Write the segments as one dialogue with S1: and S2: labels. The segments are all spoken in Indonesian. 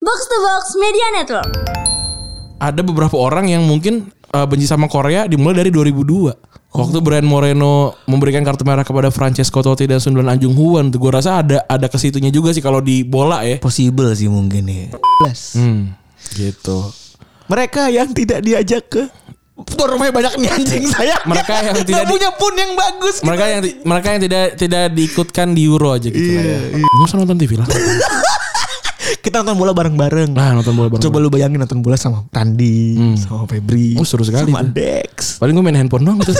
S1: Box to Box Media Network.
S2: Ada beberapa orang yang mungkin eh, benci sama Korea dimulai dari 2002. Waktu Brian Moreno memberikan kartu merah kepada Francesco Totti dan Sundulan Anjung Huan, tuh gue rasa ada ada kesitunya juga sih kalau di bola ya.
S3: Possible sih mungkin ya. Plus.
S2: Hmm, gitu.
S3: Mereka yang tidak diajak ke tuan rumahnya banyak nih anjing saya.
S2: Mereka yang
S3: Nggak
S2: tidak di-
S3: punya pun yang bagus.
S2: Mereka yang ti- mereka yang tidak tidak diikutkan di Euro aja gitu lah ya. Nggak usah nonton TV lah.
S3: Kita nonton bola bareng-bareng.
S2: Nah, nonton bola bareng.
S3: Coba lu bayangin nonton bola sama Randi, sama Febri,
S2: Oh, seru sekali
S3: sama
S2: tuh.
S3: Dex.
S2: Paling gue main handphone doang gitu.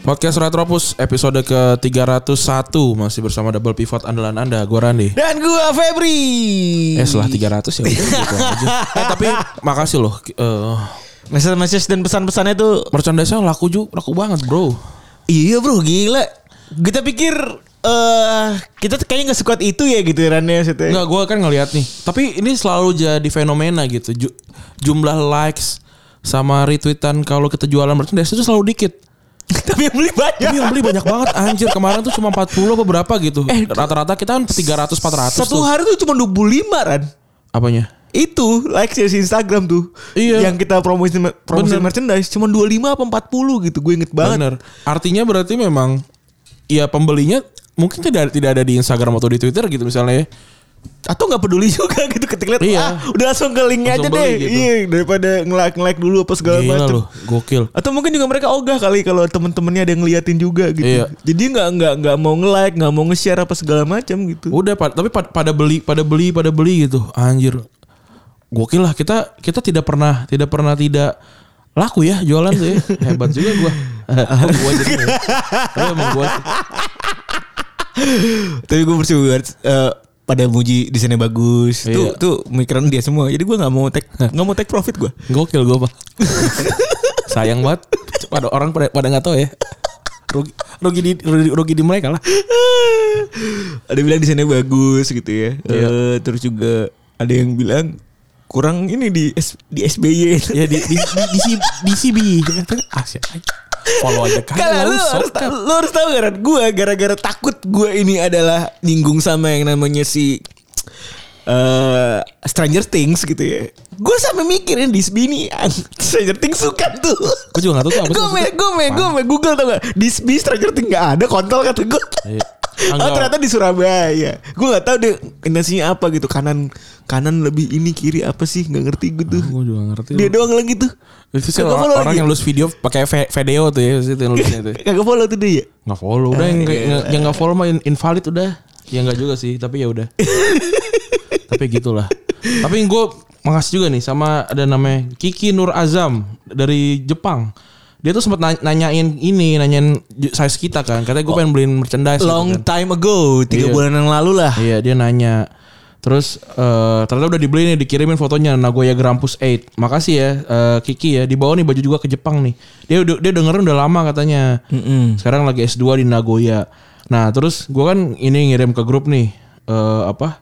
S2: Podcast Retropus episode ke-301 masih bersama double pivot andalan Anda, gua Randi.
S3: Dan gua Febri.
S2: Eh setelah 300 ya udah gitu aja. Eh, tapi makasih loh. Eh,
S3: Message-message dan pesan-pesannya tuh
S2: merchandise laku juga, laku banget, Bro.
S3: Iya bro gila Kita pikir eh Kita tuh kayaknya gak sekuat itu ya gitu Rannya maksudnya
S2: Enggak, gue kan ngeliat nih. Tapi ini selalu jadi fenomena gitu. Ju- jumlah likes sama retweetan kalau kita jualan merchandise itu selalu dikit.
S3: Tapi yang beli banyak
S2: Tapi yang beli banyak banget anjir. Kemarin tuh cuma 40 apa berapa gitu. rata-rata kita kan 300 400
S3: Eh,
S2: tuh.
S3: Satu hari tuh cuma 25 Ran
S2: Apanya?
S3: Itu likes di Instagram tuh
S2: Iya.
S3: Yang kita promosi,
S2: Bener.
S3: promosi merchandise Cuma 25 apa 40 gitu Gue inget banget
S2: Bener. Artinya berarti memang ya pembelinya mungkin tidak tidak ada di Instagram atau di Twitter gitu misalnya. ya.
S3: Atau gak peduli juga gitu Ketika liat
S2: Iya.
S3: ah, Udah langsung ke linknya aja
S2: Langsung
S3: deh
S2: beli gitu.
S3: Iya daripada nge-like nge-like dulu apa segala
S2: Gila
S3: macam
S2: loh, gokil.
S3: Atau mungkin juga mereka ogah kali kalau temen-temennya ada yang ngeliatin juga gitu.
S2: Iya.
S3: Jadi nggak nggak nggak mau nge-like, nggak mau nge-share apa segala macam gitu.
S2: Udah pad- tapi pad- pada beli pada beli pada beli gitu. Anjir. Gokil lah kita kita tidak pernah tidak pernah tidak laku ya jualan tuh ya. Hebat juga gua. Oh, gua jadi. ya. Lu emang gua sih. Oh.
S3: Tapi gue bersyukur eh, pada muji desainnya bagus.
S2: Iya.
S3: Tuh tuh mikiran dia semua. Jadi gue nggak mau take nggak mau take profit gue.
S2: Gokil gua, Pak. Sayang banget pada orang pada pada nggak tahu ya. Rugi, rugi di rugi, rugi di mereka lah.
S3: ada bilang desainnya bagus gitu ya.
S2: Iya.
S3: Eh, terus juga ada yang bilang kurang ini di S- di SBY.
S2: Ya di di di, di, C- di CB. Asyik. Follow aja kan.
S3: Kalau lu harus tahu, lu harus tahu kan gue gara-gara takut gue ini adalah nyinggung sama yang namanya si eh Stranger Things gitu ya. Gue sampai mikirin Disbini Stranger Things suka tuh.
S2: Gue juga nggak tahu tuh apa sih
S3: Gue me,
S2: maksudnya.
S3: gue me, gue me Google tau gak Disbi Stranger Things gak ada kontol kata gue
S2: Iya.
S3: Oh
S2: Enggak.
S3: ternyata di Surabaya Gue gak tahu deh intensinya apa gitu Kanan kanan lebih ini kiri apa sih Gak ngerti gue tuh
S2: Gue juga nggak ngerti.
S3: Dia doang lagi tuh
S2: Itu sih
S3: Kagak
S2: orang,
S3: follow
S2: orang
S3: lagi.
S2: yang lulus video pakai ve- video tuh ya, itu yang lulusnya tuh. Ah, iya,
S3: Kagak follow tuh dia ya
S2: Nggak follow, udah yang yang- yang nggak follow mah in- invalid udah. Ya nggak juga sih, tapi ya udah. tapi gitulah. Tapi gue makasih juga nih sama ada namanya Kiki Nur Azam dari Jepang. Dia tuh sempat nanya- nanyain ini, nanyain ju- size kita kan. Katanya gue pengen beliin merchandise. gitu
S3: Long
S2: kan.
S3: time ago, tiga
S2: Iya.
S3: bulan yang lalu lah.
S2: Iya, dia nanya. Terus eh ternyata udah dibeli nih, dikirimin fotonya Nagoya Grampus 8. Makasih ya eh, Kiki ya. Dibawa nih baju juga ke Jepang nih. Dia udah dia dengerin udah lama katanya.
S3: Hmm.
S2: Sekarang lagi S2 di Nagoya. Nah, terus gua kan ini ngirim ke grup nih. Eh apa?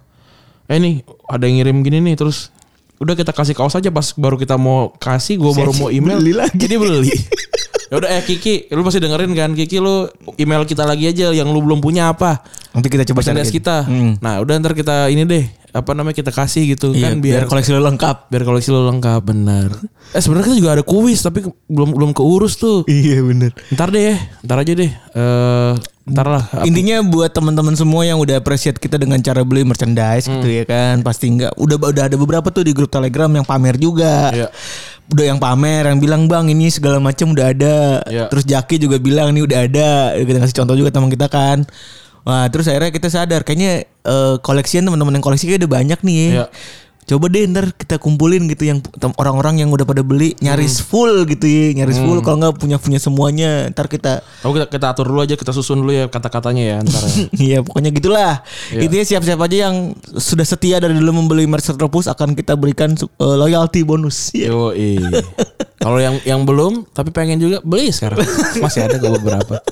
S2: Eh nih, ada yang ngirim gini nih terus udah kita kasih kaos aja pas baru kita mau kasih gua baru mau email
S3: Beli lagi.
S2: jadi beli ya udah eh Kiki lu pasti dengerin kan Kiki lu email kita lagi aja yang lu belum punya apa
S3: Nanti kita coba
S2: merchandise
S3: cariin.
S2: kita.
S3: Hmm.
S2: Nah, udah ntar kita ini deh, apa namanya kita kasih gitu
S3: Iya,
S2: kan
S3: biar,
S2: biar biar koleksi,
S3: koleksi lo lengkap.
S2: lo lengkap benar. Eh sebenarnya kita juga ada kuis tapi ke- belum belum keurus tuh.
S3: Iya bener.
S2: Ntar deh, ntar aja deh. Eh ntar lah.
S3: Intinya buat teman-teman semua yang udah appreciate kita dengan cara beli merchandise
S2: Hmm.
S3: gitu ya kan, pasti nggak. Udah udah ada beberapa tuh di grup Telegram yang pamer juga.
S2: Iya.
S3: Udah yang pamer, yang bilang bang ini segala macam udah ada.
S2: Iya.
S3: Terus Jaki juga bilang ini udah ada. Kita kasih contoh juga teman kita kan. Wah terus akhirnya kita sadar kayaknya eh, koleksian teman-teman yang koleksi kayak udah banyak nih. ya.
S2: Iya.
S3: Coba deh ntar kita kumpulin gitu yang tem- orang-orang yang udah pada beli
S2: Hmm.
S3: nyaris full gitu ya, nyaris full kalau nggak punya punya semuanya ntar kita
S2: Aku Oh, kita, kita atur dulu aja, kita susun dulu ya kata-katanya ya ntar. ya.
S3: Iya pokoknya gitulah Intinya siap-siap aja yang sudah setia dari dulu membeli merch Retropus Akan kita berikan su- eh, loyalty bonus Iya.
S2: Yoi. Kalau yang yang belum tapi pengen juga beli sekarang. Masih ada kok beberapa.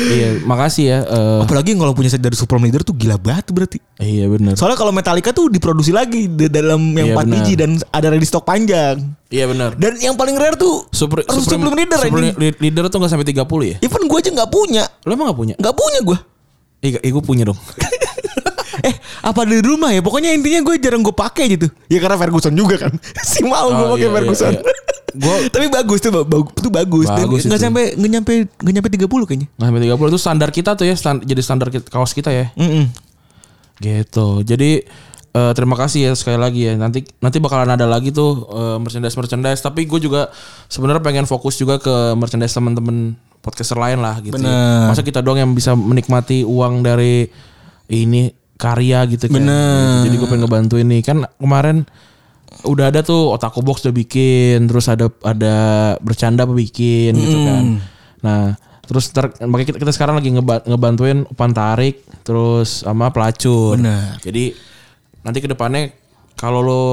S2: iya, makasih ya. eh,
S3: Apalagi kalau punya set dari Supreme Leader tuh gila banget berarti.
S2: iya benar.
S3: Soalnya kalau Metallica tuh diproduksi lagi di dalam yang
S2: Iya,
S3: 4
S2: benar.
S3: biji dan ada ready stock panjang.
S2: Iya benar.
S3: Dan yang paling rare tuh
S2: Supre-
S3: harus
S2: Supreme-
S3: Supreme Leader
S2: Supreme
S3: anjing.
S2: Lead- leader tuh gak sampai 30 ya?
S3: Even gue aja nggak punya,
S2: Lo emang gak punya?
S3: nggak punya gue.
S2: Eh, ga- eh gue punya dong.
S3: eh apa di rumah ya? Pokoknya intinya gue jarang gue pakai gitu. Ya karena Ferguson juga kan. si mau gue
S2: Oh,
S3: pakai
S2: iya, iya,
S3: Ferguson.
S2: iya. Gua-
S3: Tapi bagus tuh, ba- ba- tuh bagus.
S2: Bagus
S3: nggak
S2: itu.
S3: sampai nggak nyampe nggak nyampe 30 kayaknya.
S2: Gak sampai 30 itu standar kita tuh ya, stan- jadi standar kita- kaos kita ya.
S3: Mm-mm.
S2: Gitu. Jadi eh, terima kasih ya sekali lagi ya. Nanti nanti bakalan ada lagi tuh merchandise merchandise. Tapi gue juga sebenarnya pengen fokus juga ke merchandise teman-teman podcaster lain lah gitu. ya.
S3: Bener.
S2: Masa kita doang yang bisa menikmati uang dari ini karya gitu kan.
S3: Bener.
S2: Jadi gue pengen ngebantuin nih kan kemarin udah ada tuh otaku box udah bikin, terus ada ada bercanda bikin gitu kan. Nah terus ntar, makanya kita, kita sekarang lagi ngeba- ngebantuin upan tarik terus sama pelacur.
S3: Bener.
S2: Jadi nanti kedepannya kalau lo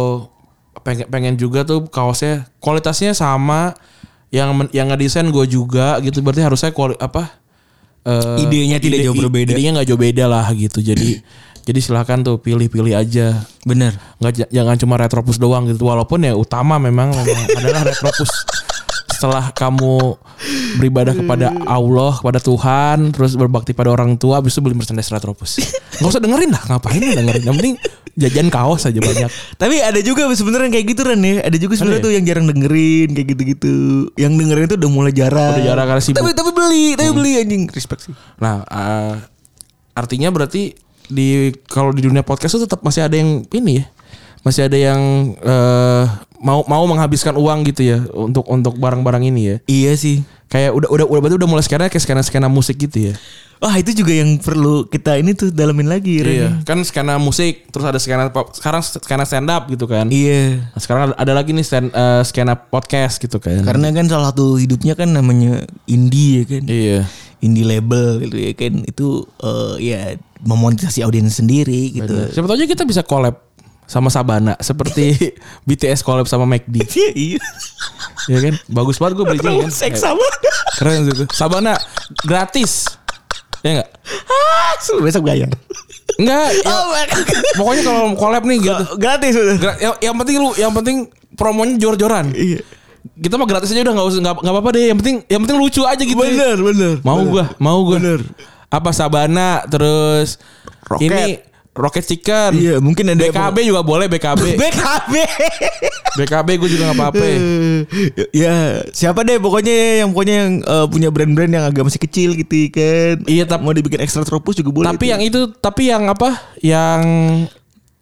S2: pengen pengen juga tuh kaosnya kualitasnya sama yang men- yang ngedesain gue juga gitu berarti harusnya kuali, apa eh,
S3: Idenya tidak jauh
S2: i-
S3: berbeda. Hmm.
S2: idenya nggak jauh beda lah gitu jadi jadi silahkan tuh pilih-pilih aja
S3: Bener.
S2: nggak j- jangan cuma retropus doang gitu walaupun ya utama memang, memang adalah retropus setelah kamu beribadah kepada
S3: Hmm.
S2: Allah kepada Tuhan terus berbakti pada orang tua habis itu beli merchandise retropus nggak usah dengerin lah ngapain ya dengerin yang penting jajan kaos aja banyak
S3: Tapi ada juga sebenarnya yang kayak gitu Ren ya. Ada juga
S2: Ada
S3: sebenarnya
S2: ya?
S3: tuh yang jarang dengerin kayak gitu-gitu. Yang dengerin tuh udah mulai jarang.
S2: Udah jarang karena sibuk. Hmm.
S3: Tapi tapi beli, tapi beli anjing. Respect sih.
S2: nah eh, artinya berarti di kalau di dunia podcast itu tetap masih ada yang ini ya masih ada yang eh, mau mau menghabiskan uang gitu ya untuk untuk barang-barang ini ya
S3: Iya sih.
S2: kayak udah udah udah berarti udah mulai sekarang kayak skena skena musik gitu ya
S3: Wah itu juga yang perlu kita ini tuh dalamin lagi Ren.
S2: iya kan skena musik terus ada skena pop sekarang skena stand up gitu kan
S3: Iya.
S2: Nah, sekarang ada, ada lagi nih stand, eh, skena podcast gitu kan
S3: Karena kan salah satu hidupnya kan namanya indie ya kan.
S2: iya
S3: Indie label gitu ya kan. Itu eh, ya memonetisasi audiens sendiri gitu.
S2: siapa tahu aja kita bisa collab sama Sabana seperti BTS collab sama McD
S3: Iya, iya.
S2: ya kan bagus banget gue beli ini
S3: Terlalu
S2: kan
S3: seks
S2: Kayak-
S3: sama.
S2: keren gitu Sabana gratis ya enggak
S3: Ah, Besok bayar.
S2: enggak ya,
S3: Oh my God.
S2: pokoknya kalau collab nih gitu
S3: Gratis udah.
S2: Gra- ya, yang, yang penting lu yang penting promonya jor-joran
S3: Iya.
S2: kita mah gratis aja udah nggak usah nggak nggak apa-apa deh yang penting yang penting lucu aja gitu
S3: Bener, bener.
S2: mau
S3: Bener.
S2: gua mau gua
S3: Bener.
S2: apa sabana terus
S3: Roket.
S2: ini roket chicken
S3: Iya, mungkin ada-
S2: BKB juga boleh BKB
S3: BKB.
S2: BKB gue juga nggak apa-apa
S3: ya siapa deh pokoknya yang pokoknya yang eh, punya brand-brand yang agak masih kecil gitu kan.
S2: Iya, tapi-
S3: mau dibikin ekstra tropus juga boleh.
S2: tapi
S3: tuh.
S2: yang itu tapi yang apa yang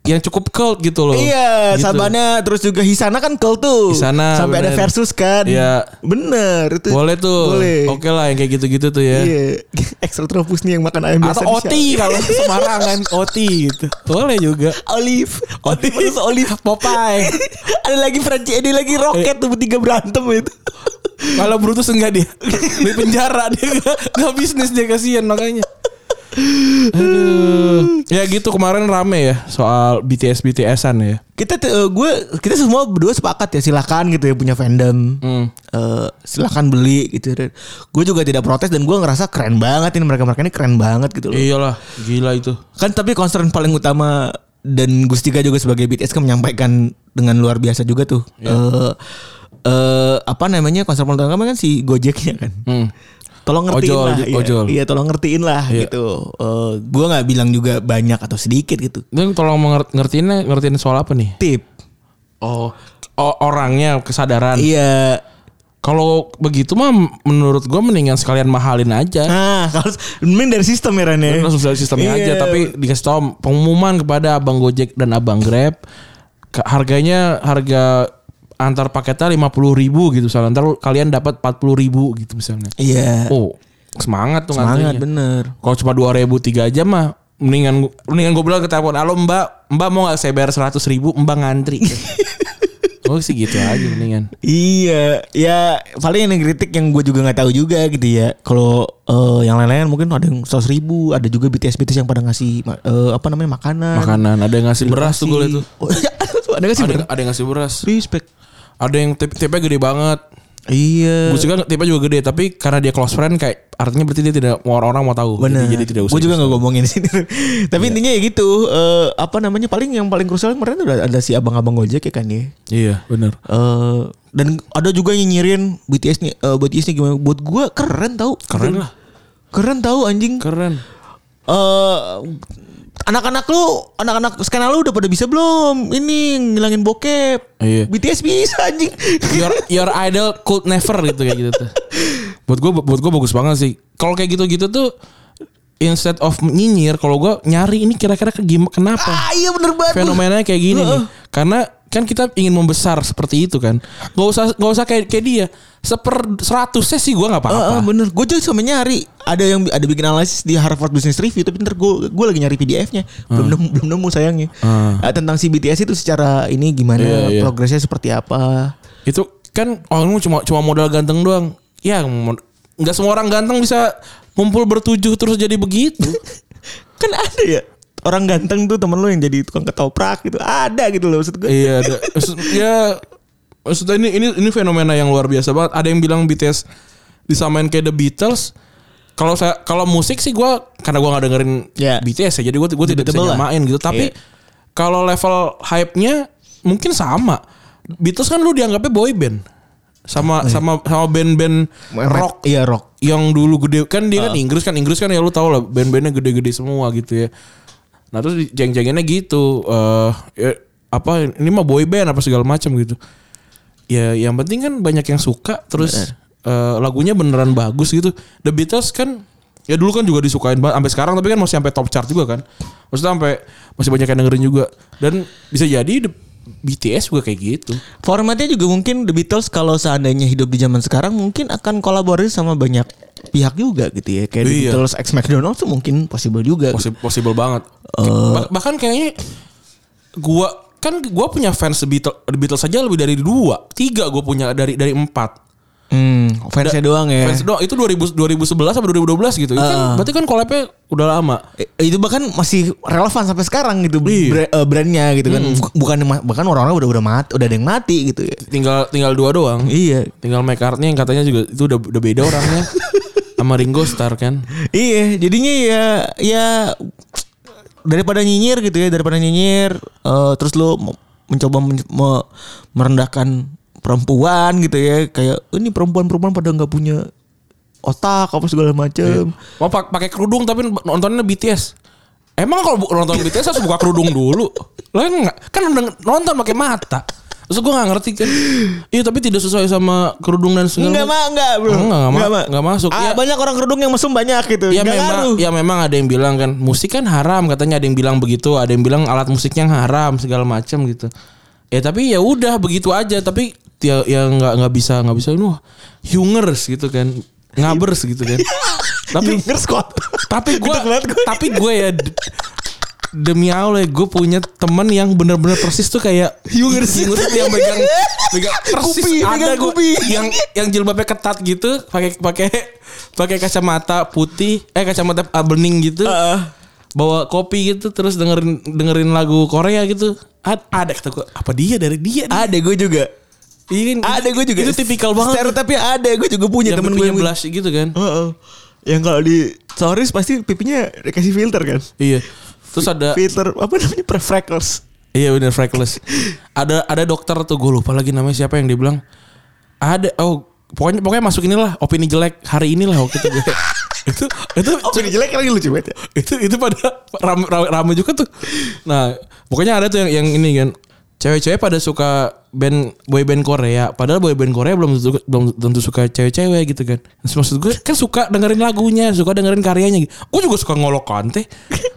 S2: yang cukup cult gitu loh Gitu.
S3: Iya, Sabana terus juga Hisana kan kel tuh.
S2: Hisana,
S3: sampai ada
S2: bener.
S3: versus kan.
S2: Iya.
S3: Bener itu.
S2: boleh tuh
S3: Boleh.
S2: oke lah yang kayak gitu-gitu tuh ya
S3: Iya. Ekstra tropus nih yang makan ayam biasa.
S2: atau OT kalau Semarang kan OT gitu boleh juga
S3: Olive. Olive versus Olive.
S2: Popeye
S3: ada lagi Franci, ada lagi
S2: Eh.
S3: Roket tuh bertiga berantem itu.
S2: Kalau Brutus enggak dia di penjara dia enggak, enggak bisnis dia kasihan makanya. Aduh. Ya gitu kemarin rame ya soal BTS BTSan ya.
S3: kita tuh, eh, gue kita semua berdua sepakat ya silakan gitu ya punya fandom
S2: Hmm.
S3: Eh, silakan beli gitu dan gue juga tidak protes dan gue ngerasa keren banget ini mereka mereka ini keren banget gitu loh
S2: Iyalah, gila itu.
S3: kan tapi concern paling utama dan Gustika juga sebagai BTS kan menyampaikan dengan luar biasa juga tuh
S2: Ya.
S3: eh eh, apa namanya concern paling utama kan si Gojeknya kan tolong ngertiin
S2: Hmm. Ojol,
S3: lah iya.
S2: ojol.
S3: iya tolong ngertiin lah gitu Eh, gue nggak bilang juga banyak atau sedikit gitu
S2: Dan tolong menger- ngertiin ngertiin soal apa nih?
S3: tip
S2: Oh, o- orangnya kesadaran.
S3: iya
S2: Kalau begitu mah menurut gua mendingan sekalian mahalin aja.
S3: Nah, kalau mending dari sistem ya Ren ya.
S2: Eh. Langsung dari sistemnya
S3: Iya.
S2: aja tapi dikasih tau pengumuman kepada Abang Gojek dan Abang Grab Ke- harganya harga antar paketnya 50.000 gitu misalnya ntar kalian dapat 40.000 gitu misalnya.
S3: Iya.
S2: Oh, semangat tuh
S3: Semangat
S2: ngantrinya.
S3: bener.
S2: Kalau cuma 2000 3 jam mah mendingan mendingan gue bilang ke telepon halo Mbak, Mbak mau nggak saya bayar 100.000 Mbak ngantri. oh sih gitu aja mendingan.
S3: Iya, ya paling yang kritik yang gue juga nggak tahu juga gitu ya. Kalau eh, yang lain-lain mungkin ada yang seratus ribu, ada juga BTS BTS yang pada ngasih ma- eh, apa namanya makanan.
S2: Makanan ada yang ngasih beras tuh gue liat tuh.
S3: Oh, iya, ada ngasih
S2: Ada,
S3: beras.
S2: ada yang ngasih beras.
S3: Respect.
S2: Ada yang tip tipnya gede banget.
S3: Iya.
S2: Gue juga tipe juga gede tapi karena dia close friend kayak artinya berarti dia tidak mau orang-orang mau tahu.
S3: Bener.
S2: Jadi, jadi tidak usah. Iya.
S3: Gue juga gak ngomongin di sini. Tapi intinya ya gitu. eh, apa namanya paling yang paling krusial kemarin udah ada si abang-abang Gojek ya kan ya.
S2: Iya, benar.
S3: Eh, dan ada juga yang nyinyirin BTS nih eh, BTS nih gimana buat gua keren tau
S2: Keren lah.
S3: keren tau anjing
S2: Keren.
S3: Eh, anak-anak lu anak-anak sekarang lu udah pada bisa belum ini ngilangin bokep
S2: Iya.
S3: BTS bisa anjing
S2: Your your idol could never gitu kayak gitu tuh. Buat gue buat gue bagus banget sih. Kalau kayak gitu-gitu tuh instead of nyinyir kalau gue nyari ini kira-kira ke gim- kenapa?
S3: ah iya bener banget
S2: fenomenanya kayak gini nih. Karena kan kita ingin membesar seperti itu kan. Gak usah gak usah kayak kayak dia. Seper seratusnya sih gue nggak
S3: Ah,
S2: apa-apa.
S3: ah, bener gue juga sama nyari ada yang ada bikin analisis di Harvard Business Review tapi ntar gue gue lagi nyari PDF-nya belum nemu, belum nemu sayangnya
S2: Ah.
S3: Ah, tentang si BTS itu secara ini gimana
S2: Iya, iya.
S3: progresnya seperti apa
S2: Itu kan orang cuma cuma modal ganteng doang. Ya mod- nggak semua orang ganteng bisa ngumpul bertujuh terus jadi begitu.
S3: kan ada ya orang ganteng tuh temen lu yang jadi tukang ketoprak gitu ada gitu loh maksud gue
S2: iya, ada- maksud- ya maksudnya ini ini ini fenomena yang luar biasa banget. Ada yang bilang BTS disamain kayak The Beatles. Kalau saya kalau musik sih gue karena gue nggak dengerin
S3: Ya.
S2: BTS ya, jadi gue gue tidak bisa
S3: Debatable lah.
S2: nyamain gitu. Tapi
S3: Iya.
S2: kalau level hype-nya mungkin sama. Beatles kan lu dianggapnya boy band sama sama sama band-band rock
S3: iya rock
S2: yang dulu gede kan dia kan Inggris kan Inggris kan ya lu tau lah band-bandnya gede-gede semua gitu ya. Nah terus jeng-jenginnya gitu eh ya, apa ini mah boy band apa segala macam gitu. Ya yang penting kan banyak yang suka terus eh, lagunya beneran bagus gitu. The Beatles kan ya dulu kan juga disukain banget sampai sekarang tapi kan masih sampai top chart juga kan. Maksudnya sampai masih banyak yang dengerin juga dan bisa jadi The BTS juga kayak gitu.
S3: formatnya juga mungkin The Beatles kalau seandainya hidup di zaman sekarang mungkin akan kolaborasi sama banyak pihak juga gitu ya kayak The
S2: Iya.
S3: Beatles X McDonald tuh mungkin possible juga
S2: Possible, possible banget. Bah- bahkan kayaknya gua kan gua punya fans The Beatles, The Beatles saja lebih dari dua, tiga gua punya dari dari empat.
S3: hmm, fansnya doang ya
S2: Fans doang itu 2000, 2011 atau 2012 gitu. Itu kan, berarti kan collabnya udah lama.
S3: Eh, itu bahkan masih relevan sampai sekarang gitu
S2: Iya.
S3: bra- eh, brandnya gitu kan
S2: Hmm.
S3: Buk- bukan bahkan orang-orang udah udah mati udah ada yang mati gitu ya
S2: Tinggal tinggal dua doang.
S3: iya
S2: Tinggal McCartney yang katanya juga itu udah udah beda orangnya. sama Ringo Starr kan.
S3: Iya, jadinya ya ya daripada nyinyir gitu ya, daripada nyinyir eh, terus lu m- mencoba men- me- merendahkan perempuan gitu ya, kayak ini perempuan-perempuan pada nggak punya otak apa segala macam.
S2: Mau pak- pakai kerudung tapi nontonnya BTS. Emang kalau bu- nonton BTS harus buka kerudung dulu? Lah enggak. Kan udah nonton pakai mata. Terus gue gak ngerti kan. Iya tapi tidak sesuai sama kerudung dan segala.
S3: Enggak
S2: macam.
S3: mah enggak, Bro.
S2: Enggak, enggak ma-
S3: Ma.
S2: enggak masuk.
S3: Ah,
S2: Ya.
S3: banyak orang kerudung yang mesum banyak gitu.
S2: Ya
S3: Enggak
S2: memang,
S3: ngaruh.
S2: ya memang ada yang bilang kan musik kan haram katanya ada yang bilang begitu, ada yang bilang alat musiknya haram segala macam gitu. Ya tapi ya udah begitu aja tapi ya ya nggak nggak bisa nggak bisa wah hungers gitu kan ngabers gitu kan. tapi
S3: Yungers kok.
S2: tapi gue
S3: Gede banget gue.
S2: tapi gue ya d- demi allah gue punya temen yang bener-bener persis tuh kayak
S3: Yungers.
S2: Yungers tuh yang megang megang persis
S3: Kupi,
S2: ada
S3: megang
S2: gue
S3: kupi.
S2: yang yang jilbabnya ketat gitu pakai pakai pakai kacamata putih eh kacamata ah, bening gitu
S3: Heeh.
S2: bawa kopi gitu terus dengerin dengerin lagu Korea gitu Ad- ada kata gue apa dia dari dia nih?
S3: ada gue juga.
S2: Iya kan?
S3: Ada gue juga.
S2: itu tipikal banget
S3: tapi ada gue juga punya
S2: yang
S3: temen
S2: temen
S3: gue
S2: punya
S3: yang-
S2: blush gitu kan
S3: Heeh. Yang kalau di stories pasti pipinya dikasih filter kan?
S2: iya terus ada
S3: Filter apa namanya? Prefreckles.
S2: Iya bener Freckles. ada ada dokter tuh gue lupa lagi namanya siapa yang dia bilang ada oh pokoknya pokoknya masuk inilah opini jelek hari inilah waktu itu gue. itu itu
S3: Oh, jadi jelek lagi lucu banget ya.
S2: itu itu pada rame, rame, rame juga tuh. Nah pokoknya ada tuh yang yang ini kan cewek-cewek pada suka band boy band Korea padahal boy band Korea belum tentu, belum tentu suka cewek-cewek gitu kan Terus maksud gue kan suka dengerin lagunya suka dengerin karyanya gitu. gue juga suka ngolok kante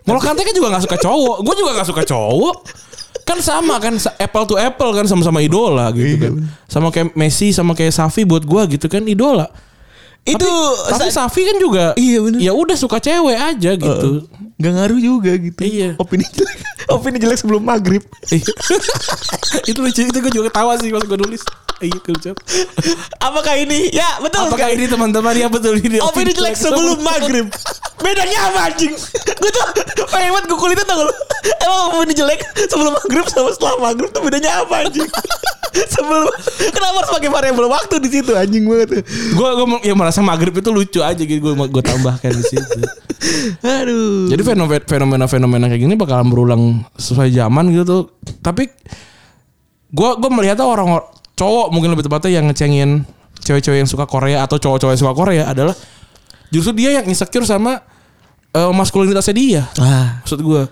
S2: ngolok kante kan juga nggak suka cowok gue juga nggak suka cowok kan sama kan sa- apple to apple kan sama-sama idola
S3: Iya,
S2: gitu kan sama kayak Messi sama kayak Safi buat gua gitu kan idola
S3: Itu
S2: tapi Safi kan juga
S3: Iya, bener.
S2: ya udah suka cewek aja gitu
S3: Gak ngaruh juga gitu.
S2: Iya.
S3: Opini jelek. Opini jelek sebelum maghrib.
S2: Iya. itu lucu itu gue juga ketawa sih pas gue nulis iya kelucu
S3: Apakah ini? Ya betul
S2: apakah
S3: sekali.
S2: ini teman-teman ya betul ini
S3: Opini jelek sebelum maghrib. Bedanya apa anjing? Gue tuh pengen banget gue kulitnya tau gak lu. Emang opini jelek sebelum maghrib sama setelah maghrib tuh bedanya apa anjing? sebelum kenapa harus pakai variabel waktu di situ anjing banget.
S2: Gue gue ya merasa maghrib itu lucu aja gitu. Gue gue tambahkan di situ.
S3: Aduh.
S2: Jadi fenomen- fenomena-fenomena kayak gini bakalan berulang sesuai zaman gitu tuh. Tapi gue gue melihatnya orang cowok mungkin lebih tepatnya yang ngecengin cewek-cewek yang suka Korea atau cowok-cowok yang suka Korea adalah justru dia yang insecure sama eh, maskulinitasnya dia.
S3: Ah.
S2: Maksud gue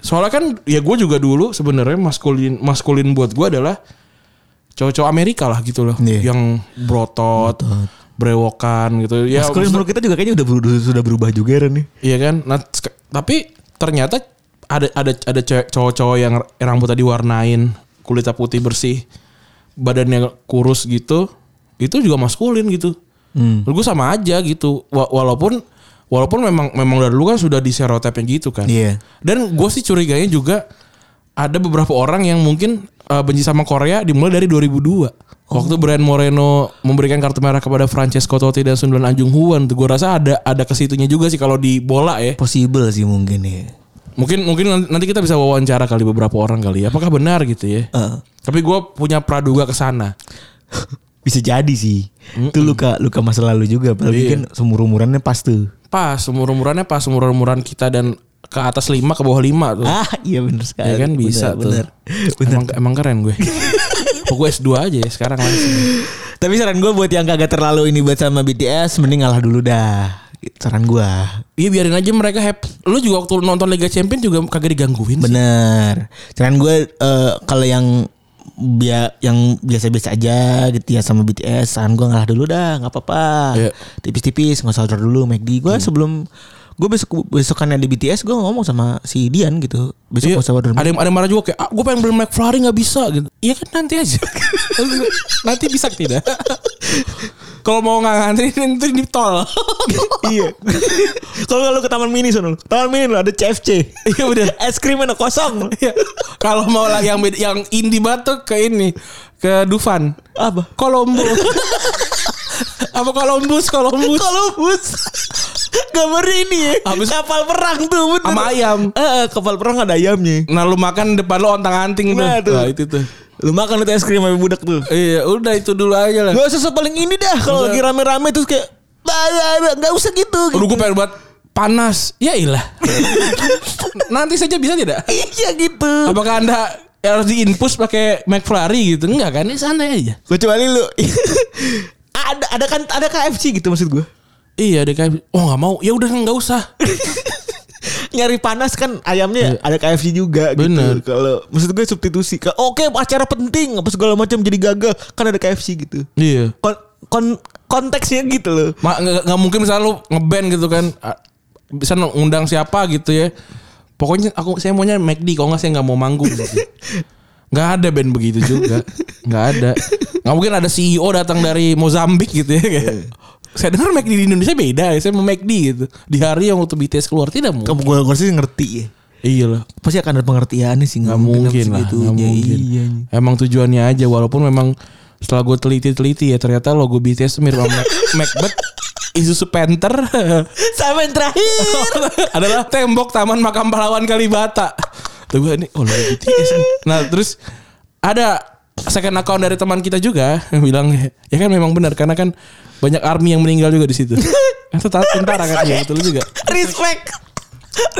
S2: soalnya kan ya gue juga dulu sebenarnya maskulin maskulin buat gue adalah cowok-cowok Amerika lah gitu loh
S3: Iya.
S2: yang brotot, brewokan gitu ya
S3: Maskulin
S2: maksud-
S3: menurut kita juga kayaknya udah beru- sudah berubah juga Ren nih.
S2: Iya kan? Nah, sek- tapi ternyata ada ada ada cewek- cowok-cowok yang r- rambutnya diwarnain, kulitnya putih bersih, badannya kurus gitu, itu juga maskulin gitu.
S3: Hmm.
S2: Gue sama aja gitu. Wa- walaupun walaupun memang memang dari dulu kan sudah diserotipnya gitu kan.
S3: Iya.
S2: Dan gue sih curiganya juga ada beberapa orang yang mungkin eh, benci sama Korea dimulai dari 2002.
S3: Oh.
S2: Waktu Brian Moreno memberikan kartu merah kepada Francesco Totti dan Sundulan Anjung Huan, gue rasa ada ada kesitunya juga sih kalau di bola ya.
S3: Possible sih mungkin ya.
S2: Mungkin mungkin nanti- nanti kita bisa wawancara kali beberapa orang kali ya. Apakah benar gitu ya?
S3: Heeh.
S2: Tapi gue punya praduga ke sana.
S3: Bisa jadi sih. Itu luka luka masa lalu juga apalagi kan seumur umurannya pas tuh.
S2: Pas umur umurannya pas umur umuran kita dan ke atas 5 ke bawah 5 tuh.
S3: Ah, iya bener sekali.
S2: ya kan bisa tuh.
S3: bener, Bener.
S2: Emang emang keren gue. Pokoknya S2 aja ya sekarang langsung.
S3: Tapi saran gue buat yang kagak terlalu ini buat sama BTS mending ngalah dulu dah. Saran gue.
S2: Iya biarin aja mereka happy. Lu juga waktu nonton Liga Champion juga kagak digangguin. sih.
S3: Bener. Saran gue eh, kalau yang bia yang biasa-biasa aja gitu ya sama BTS saran gue ngalah dulu dah nggak apa-apa
S2: Iya.
S3: tipis-tipis nggak usah order dulu McD gue sebelum gue besok besokan ada BTS gue ngomong sama si Dian gitu besok
S2: Iya,
S3: nggak usah order
S2: ada yang ada yang marah juga kayak ah, gue pengen beli McFlurry nggak bisa gitu. Iya kan nanti aja. nanti bisa tidak? Kalau mau nggak ngantri nanti di tol.
S3: iya. Kalau nggak lu ke Taman Mini sono lu. Taman Mini lu ada CFC.
S2: Iya bener.
S3: Es krimnya kosong.
S2: Iya. Kalau mau lah yang beda- yang indie banget tuh ke ini ke Dufan.
S3: Apa?
S2: Kolombo. Apa Kolombus, Kolombus.
S3: Kolombus. Gambar ini ya.
S2: Habis-
S3: kapal perang tuh bener.
S2: Sama ayam.
S3: Eh, eh, kapal perang ada ayamnya.
S2: Nah lu makan depan lu ontang-anting tuh.
S3: Nah, tuh.
S2: Nah, itu tuh.
S3: Lu makan itu es krim sama budak tuh.
S2: Iya, udah itu dulu aja lah.
S3: Gak usah sepaling ini dah kalau lagi rame-rame terus kayak "Ah, ah, ah," nggak usah gitu.
S2: Aduh gue
S3: gitu.
S2: pengen buat panas. Ya ilah. Nanti saja bisa tidak?
S3: Iya gitu.
S2: Apakah anda harus diinpus pakai McFlurry gitu? Enggak kan? Ini santai aja.
S3: Kecuali lu ada ada kan ada KFC gitu maksud gue.
S2: Iya deh kayak oh nggak mau. Ya udah nggak usah.
S3: nyari panas kan ayamnya ada KFC juga
S2: Bener.
S3: gitu. Kalau maksud gue substitusi. Ke- Oke, acara penting apa segala macam jadi gagal kan ada KFC gitu.
S2: iya.
S3: Kon, kon- konteksnya gitu loh.
S2: Ma, nggak nggak mungkin misalnya lu ngeband gitu kan a- bisa ngundang siapa gitu ya pokoknya aku saya maunya McD kalau nggak saya nggak mau manggung gitu. nggak ada band begitu juga nggak ada nggak mungkin ada CEO datang dari Mozambik gitu ya kayak saya dengar McD di Indonesia beda ya saya mau McD gitu di hari yang waktu BTS keluar tidak mungkin
S3: Kamu gue gue sih ngerti ya.
S2: iya lah
S3: Pasti akan ada pengertiannya sih
S2: nggak mungkin lah nggak mungkin
S3: iya,
S2: emang tujuannya aja walaupun memang setelah gue teliti-teliti ya ternyata logo BTS tuh mirip sama Mac- Macbeth Isuzu Panther
S3: Sama yang terakhir.
S2: adalah tembok Taman Makam Pahlawan Kalibata. Tuh gue ini oh lagi BTS nih. Nah, terus ada second account dari teman kita juga yang bilang ya kan memang benar karena kan banyak army yang meninggal juga di situ. Itu ta- tentara kan ya betul juga.
S3: Respect.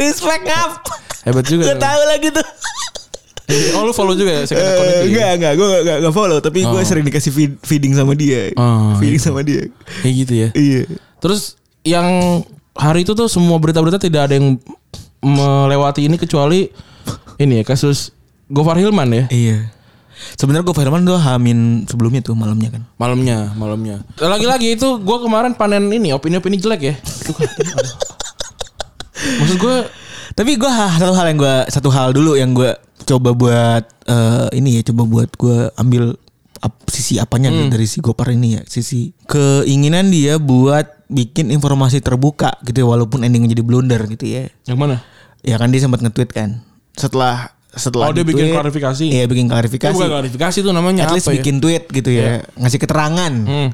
S3: Respect up.
S2: Hebat juga.
S3: Gue tahu lagi tuh.
S2: Oh lu follow juga ya second account
S3: Eh. Eh,
S2: itu. ya?
S3: enggak, enggak, gue enggak, enggak follow Tapi gue
S2: Oh.
S3: sering dikasih feed- feeding sama dia
S2: Oh,
S3: Feeding sama dia
S2: Kayak gitu ya.
S3: Iya
S2: Terus yang hari itu tuh semua berita-berita tidak ada yang melewati ini kecuali ini ya kasus Gofar Hilman ya.
S3: Iya. Sebenarnya gue Firman tuh hamin sebelumnya tuh malamnya kan.
S2: Malamnya, malamnya. Lagi-lagi itu gue kemarin panen ini opini-opini jelek ya. Aduh, aduh. Maksud gue
S3: Tapi gue satu hal yang gue satu hal dulu yang gue coba buat eh, ini ya coba buat gue ambil ap- sisi apanya gitu dari si Gopar ini ya sisi keinginan dia buat bikin informasi terbuka gitu ya, walaupun endingnya jadi blunder gitu ya.
S2: yang mana?
S3: Ya kan dia sempat nge-tweet kan setelah setelah
S2: Oh, dia bikin
S3: di-tweet,
S2: klarifikasi.
S3: Iya bikin klarifikasi.
S2: Itu bukan klarifikasi tuh namanya
S3: At least
S2: apa ya? Iya.
S3: bikin tweet gitu ya, ngasih keterangan.
S2: Hmm.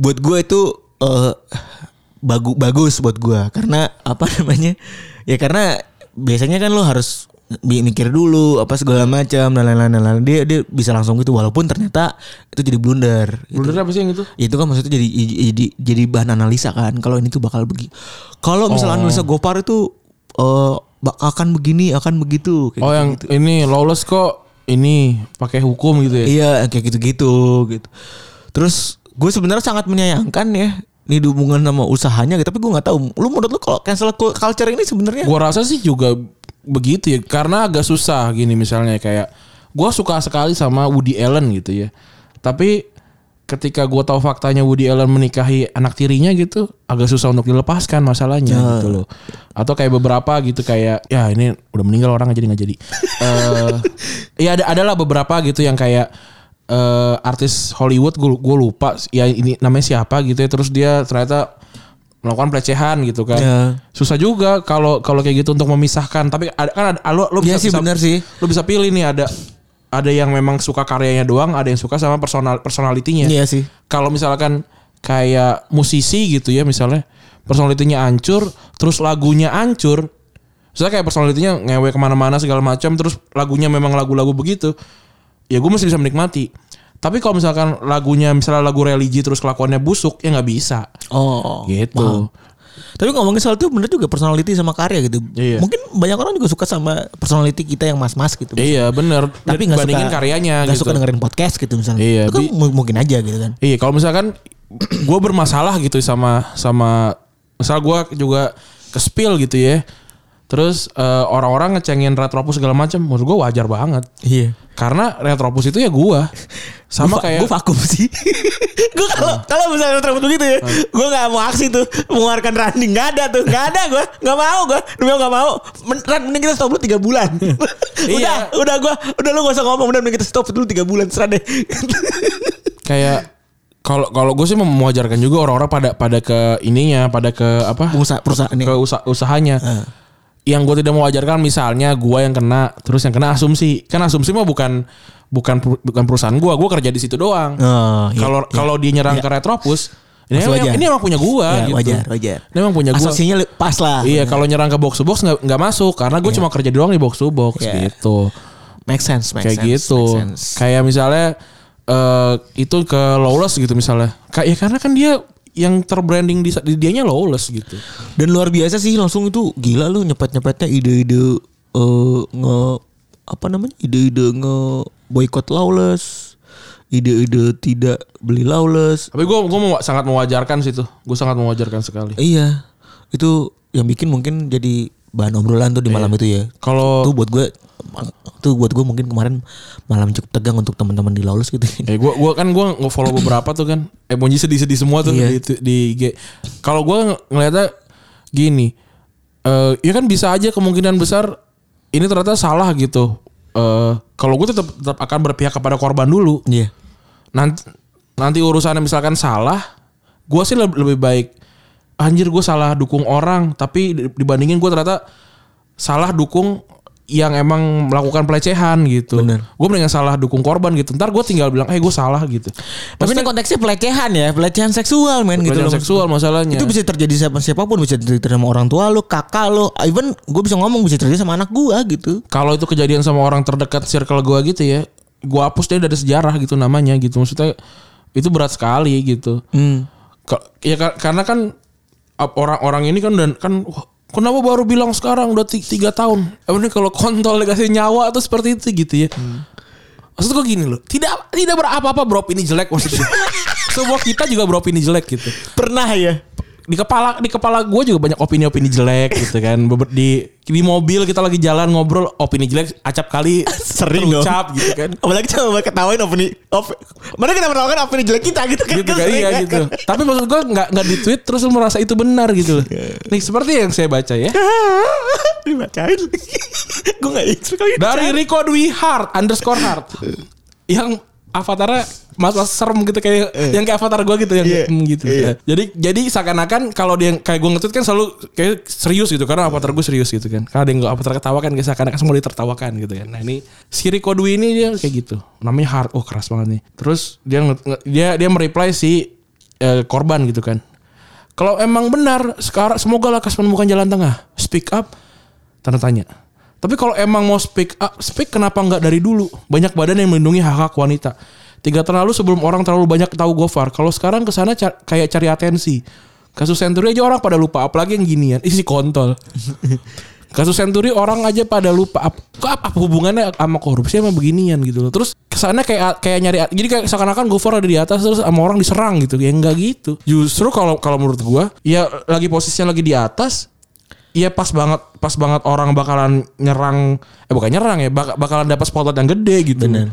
S3: Buat gue itu eh, bagu- bagus buat gue karena apa namanya? Ya karena biasanya kan lo harus bi- mikir dulu apa segala macam dan lain-lain dan lain-lain. dia dia bisa langsung gitu walaupun ternyata itu jadi blunder gitu.
S2: Blundernya apa sih yang itu?
S3: Ya, itu kan maksudnya jadi jadi jadi bahan analisa kan kalau ini tuh bakal begini kalau misalnya analisa Gopar itu eh, bak- akan begini akan begitu kayak
S2: Oh
S3: gitu.
S2: yang ini lawless kok ini pakai hukum gitu ya.
S3: Iya kayak gitu-gitu gitu. Terus gue sebenarnya sangat menyayangkan ya ini hubungan sama usahanya gitu. Tapi gue nggak tahu. Lu menurut lu kalau cancel culture ini sebenarnya?
S2: Gua rasa sih juga begitu ya karena agak susah gini misalnya kayak gua suka sekali sama Woody Allen gitu ya. Tapi ketika gua tahu faktanya Woody Allen menikahi anak tirinya gitu agak susah untuk dilepaskan masalahnya gitu loh. Atau kayak beberapa gitu kayak ya ini udah meninggal orang jadi nggak jadi. Eh ya ada adalah beberapa gitu yang kayak eh artis Hollywood gue gue lupa ya ini namanya siapa gitu ya terus dia ternyata melakukan pelecehan gitu kan
S3: Ya.
S2: susah juga kalau kalau kayak gitu untuk memisahkan tapi ada kan ada, lo lo
S3: Iya sih, benar sih.
S2: lo bisa pilih nih ada ada yang memang suka karyanya doang ada yang suka sama personal personalitinya
S3: Iya sih.
S2: kalau misalkan kayak musisi gitu ya misalnya personalitinya hancur terus lagunya hancur saya kayak personalitinya ngewe kemana-mana segala macam terus lagunya memang lagu-lagu begitu ya gue masih bisa menikmati tapi kalau misalkan lagunya misalnya lagu religi terus kelakuannya busuk ya nggak bisa
S3: Oh.
S2: gitu
S3: Tapi ngomongin soal itu bener juga personality sama karya gitu.
S2: Iya.
S3: Mungkin banyak orang juga suka sama personality kita yang mas-mas gitu.
S2: iya bener
S3: Tapi nggak suka
S2: bandingin karyanya
S3: nggak
S2: gitu
S3: suka dengerin podcast gitu misalnya.
S2: Iya,
S3: itu kan
S2: bi-
S3: mu- mungkin aja gitu kan.
S2: Iya, kalau misalkan gue bermasalah gitu sama sama misal gue juga kespil gitu ya. Terus eh, orang-orang ngecengin retropus segala macam, menurut gue wajar banget.
S3: Iya.
S2: Karena retropus itu ya gue sama kayak Hmm.
S3: gue vakum sih. gue kalau kalau misalnya terlalu begitu ya, gue nggak mau aksi tuh mengeluarkan running nggak ada tuh nggak ada gue nggak mau gue demi Allah nggak mau Men, Ran, mending kita stop dulu tiga bulan. udah
S2: Iya.
S3: udah gue udah lu gak usah ngomong udah mending kita stop dulu tiga bulan serah deh.
S2: kayak kalau kalau gue sih mem- mewajarkan juga orang-orang pada pada ke ininya, pada ke apa?
S3: Pengusaha perusahaan
S2: ke usa- usahanya. Yang gue tidak mewajarkan misalnya gue yang kena, terus yang kena asumsi. Kan asumsi mah bukan bukan per- bukan perusahaan gue, gue kerja di situ doang.
S3: Oh, iya,
S2: Kalau
S3: iya.
S2: kalau dia nyerang ke Retropus, ini
S3: Masih
S2: emang,
S3: wajar.
S2: ini emang punya gue
S3: Ya,
S2: gitu.
S3: wajar wajar.
S2: Ini emang punya gue.
S3: Asumsinya li- pas lah.
S2: Iya, kalau nyerang ke box to box nggak nggak masuk karena gue cuma kerja doang di box to box
S3: Iya.
S2: gitu.
S3: Make sense, make
S2: Kayak
S3: sense,
S2: gitu.
S3: make sense.
S2: Kayak misalnya eh itu ke lawless gitu misalnya. Kayak ya karena kan dia yang terbranding di, di dianya lawless gitu.
S3: Dan luar biasa sih langsung itu gila lu nyepet-nyepetnya ide-ide eh, nge apa namanya? ide-ide nge boykot lawless, ide-ide tidak beli lawless.
S2: Tapi gue gue sangat mewajarkan sih tuh. Gue sangat mewajarkan sekali.
S3: Iya. Itu yang bikin mungkin jadi bahan obrolan tuh di malam itu ya.
S2: Kalau
S3: Itu buat gue tuh buat gue mungkin kemarin malam cukup tegang untuk teman-teman di lawless gitu.
S2: Eh gua gua kan gua nge-follow beberapa tuh kan. Emoji sedih-sedih semua tuh di,
S3: Iya.
S2: di IG. Kalau gua ngeliatnya gini. eh ya kan bisa aja kemungkinan besar ini ternyata salah gitu. Eh kalau gue tetap tetap akan berpihak kepada korban dulu.
S3: Iya.
S2: Nanti nanti urusannya misalkan salah, gua sih leb- lebih baik anjir gue salah dukung orang, tapi di- dibandingin gua ternyata salah dukung yang emang melakukan pelecehan gitu.
S3: Bener.
S2: Gue mendingan salah dukung korban gitu. Ntar gue tinggal bilang, eh gue salah gitu.
S3: Tapi ini konteksnya pelecehan ya, pelecehan seksual men gitu
S2: Pelecehan
S3: loh.
S2: seksual masalahnya.
S3: Itu bisa terjadi sama siapapun, bisa terjadi sama orang tua lo, kakak lo, even gue bisa ngomong bisa terjadi sama anak gue gitu.
S2: Kalau itu kejadian sama orang terdekat circle gua gitu ya, gua hapus dia dari sejarah gitu namanya gitu. Maksudnya itu berat sekali gitu.
S3: Hmm.
S2: Ka- Ya ka- karena kan ap- orang-orang ini kan dan kan wah, kenapa baru bilang sekarang udah ti- tiga tahun. Emangnya kalau kontol dikasih nyawa atau seperti itu gitu ya. Maksud gue gini loh, tidak tidak berapa-apa bro ini jelek maksudnya. Semua kita juga bro ini jelek gitu.
S3: Pernah ya?
S2: di kepala di kepala gue juga banyak opini-opini jelek gitu kan Beber- di di mobil kita lagi jalan ngobrol opini jelek acap kali
S3: Sering dong.
S2: terucap gitu kan
S3: Apalagi coba ketawain opini op, Mana kita menawarkan opini jelek kita gitu kan
S2: gitu kan iya gitu tapi maksud gue nggak nggak di tweet terus lu merasa itu benar gitu loh nih seperti yang saya baca ya
S3: Dibacain lagi Gue gak ikut kali
S2: dari Rico Dwi Hart underscore Hart yang avatarnya mas mas serem gitu kayak yang kayak avatar gue gitu yang
S3: Eh. Iya.
S2: hmm, gitu
S3: Iya.
S2: jadi jadi seakan-akan kalau dia yang kayak gue ngetweet kan selalu kayak serius gitu karena avatar gue serius gitu kan karena ada yang gak avatar ketawa kan kayak seakan-akan semua ditertawakan gitu kan nah ini si Rico Dwi ini dia kayak gitu namanya Hart oh keras banget nih terus dia nge- nge- dia dia mereply si eh, korban gitu kan kalau emang benar sekarang semoga lakas menemukan jalan tengah speak up tanda tanya Tapi kalau emang mau speak up, speak kenapa nggak dari dulu? Banyak badan yang melindungi hak-hak wanita. Tiga terlalu sebelum orang terlalu banyak tahu Gofar. Kalau sekarang ke sana ca- kayak cari atensi. Kasus Senturi aja orang pada lupa apalagi yang ginian. Isi kontol. Kasus Senturi orang aja pada lupa Ap- kok apa, apa hubungannya sama korupsi sama beginian gitu loh. Terus kesannya kayak kayak nyari jadi kayak seakan-akan Gofar ada di atas terus sama orang diserang gitu. Ya enggak gitu. Justru kalau kalau menurut gua ya lagi posisinya lagi di atas Iya pas banget pas banget orang bakalan nyerang eh bukan nyerang ya bak- bakalan dapat spotlight yang gede gitu.
S3: Bener.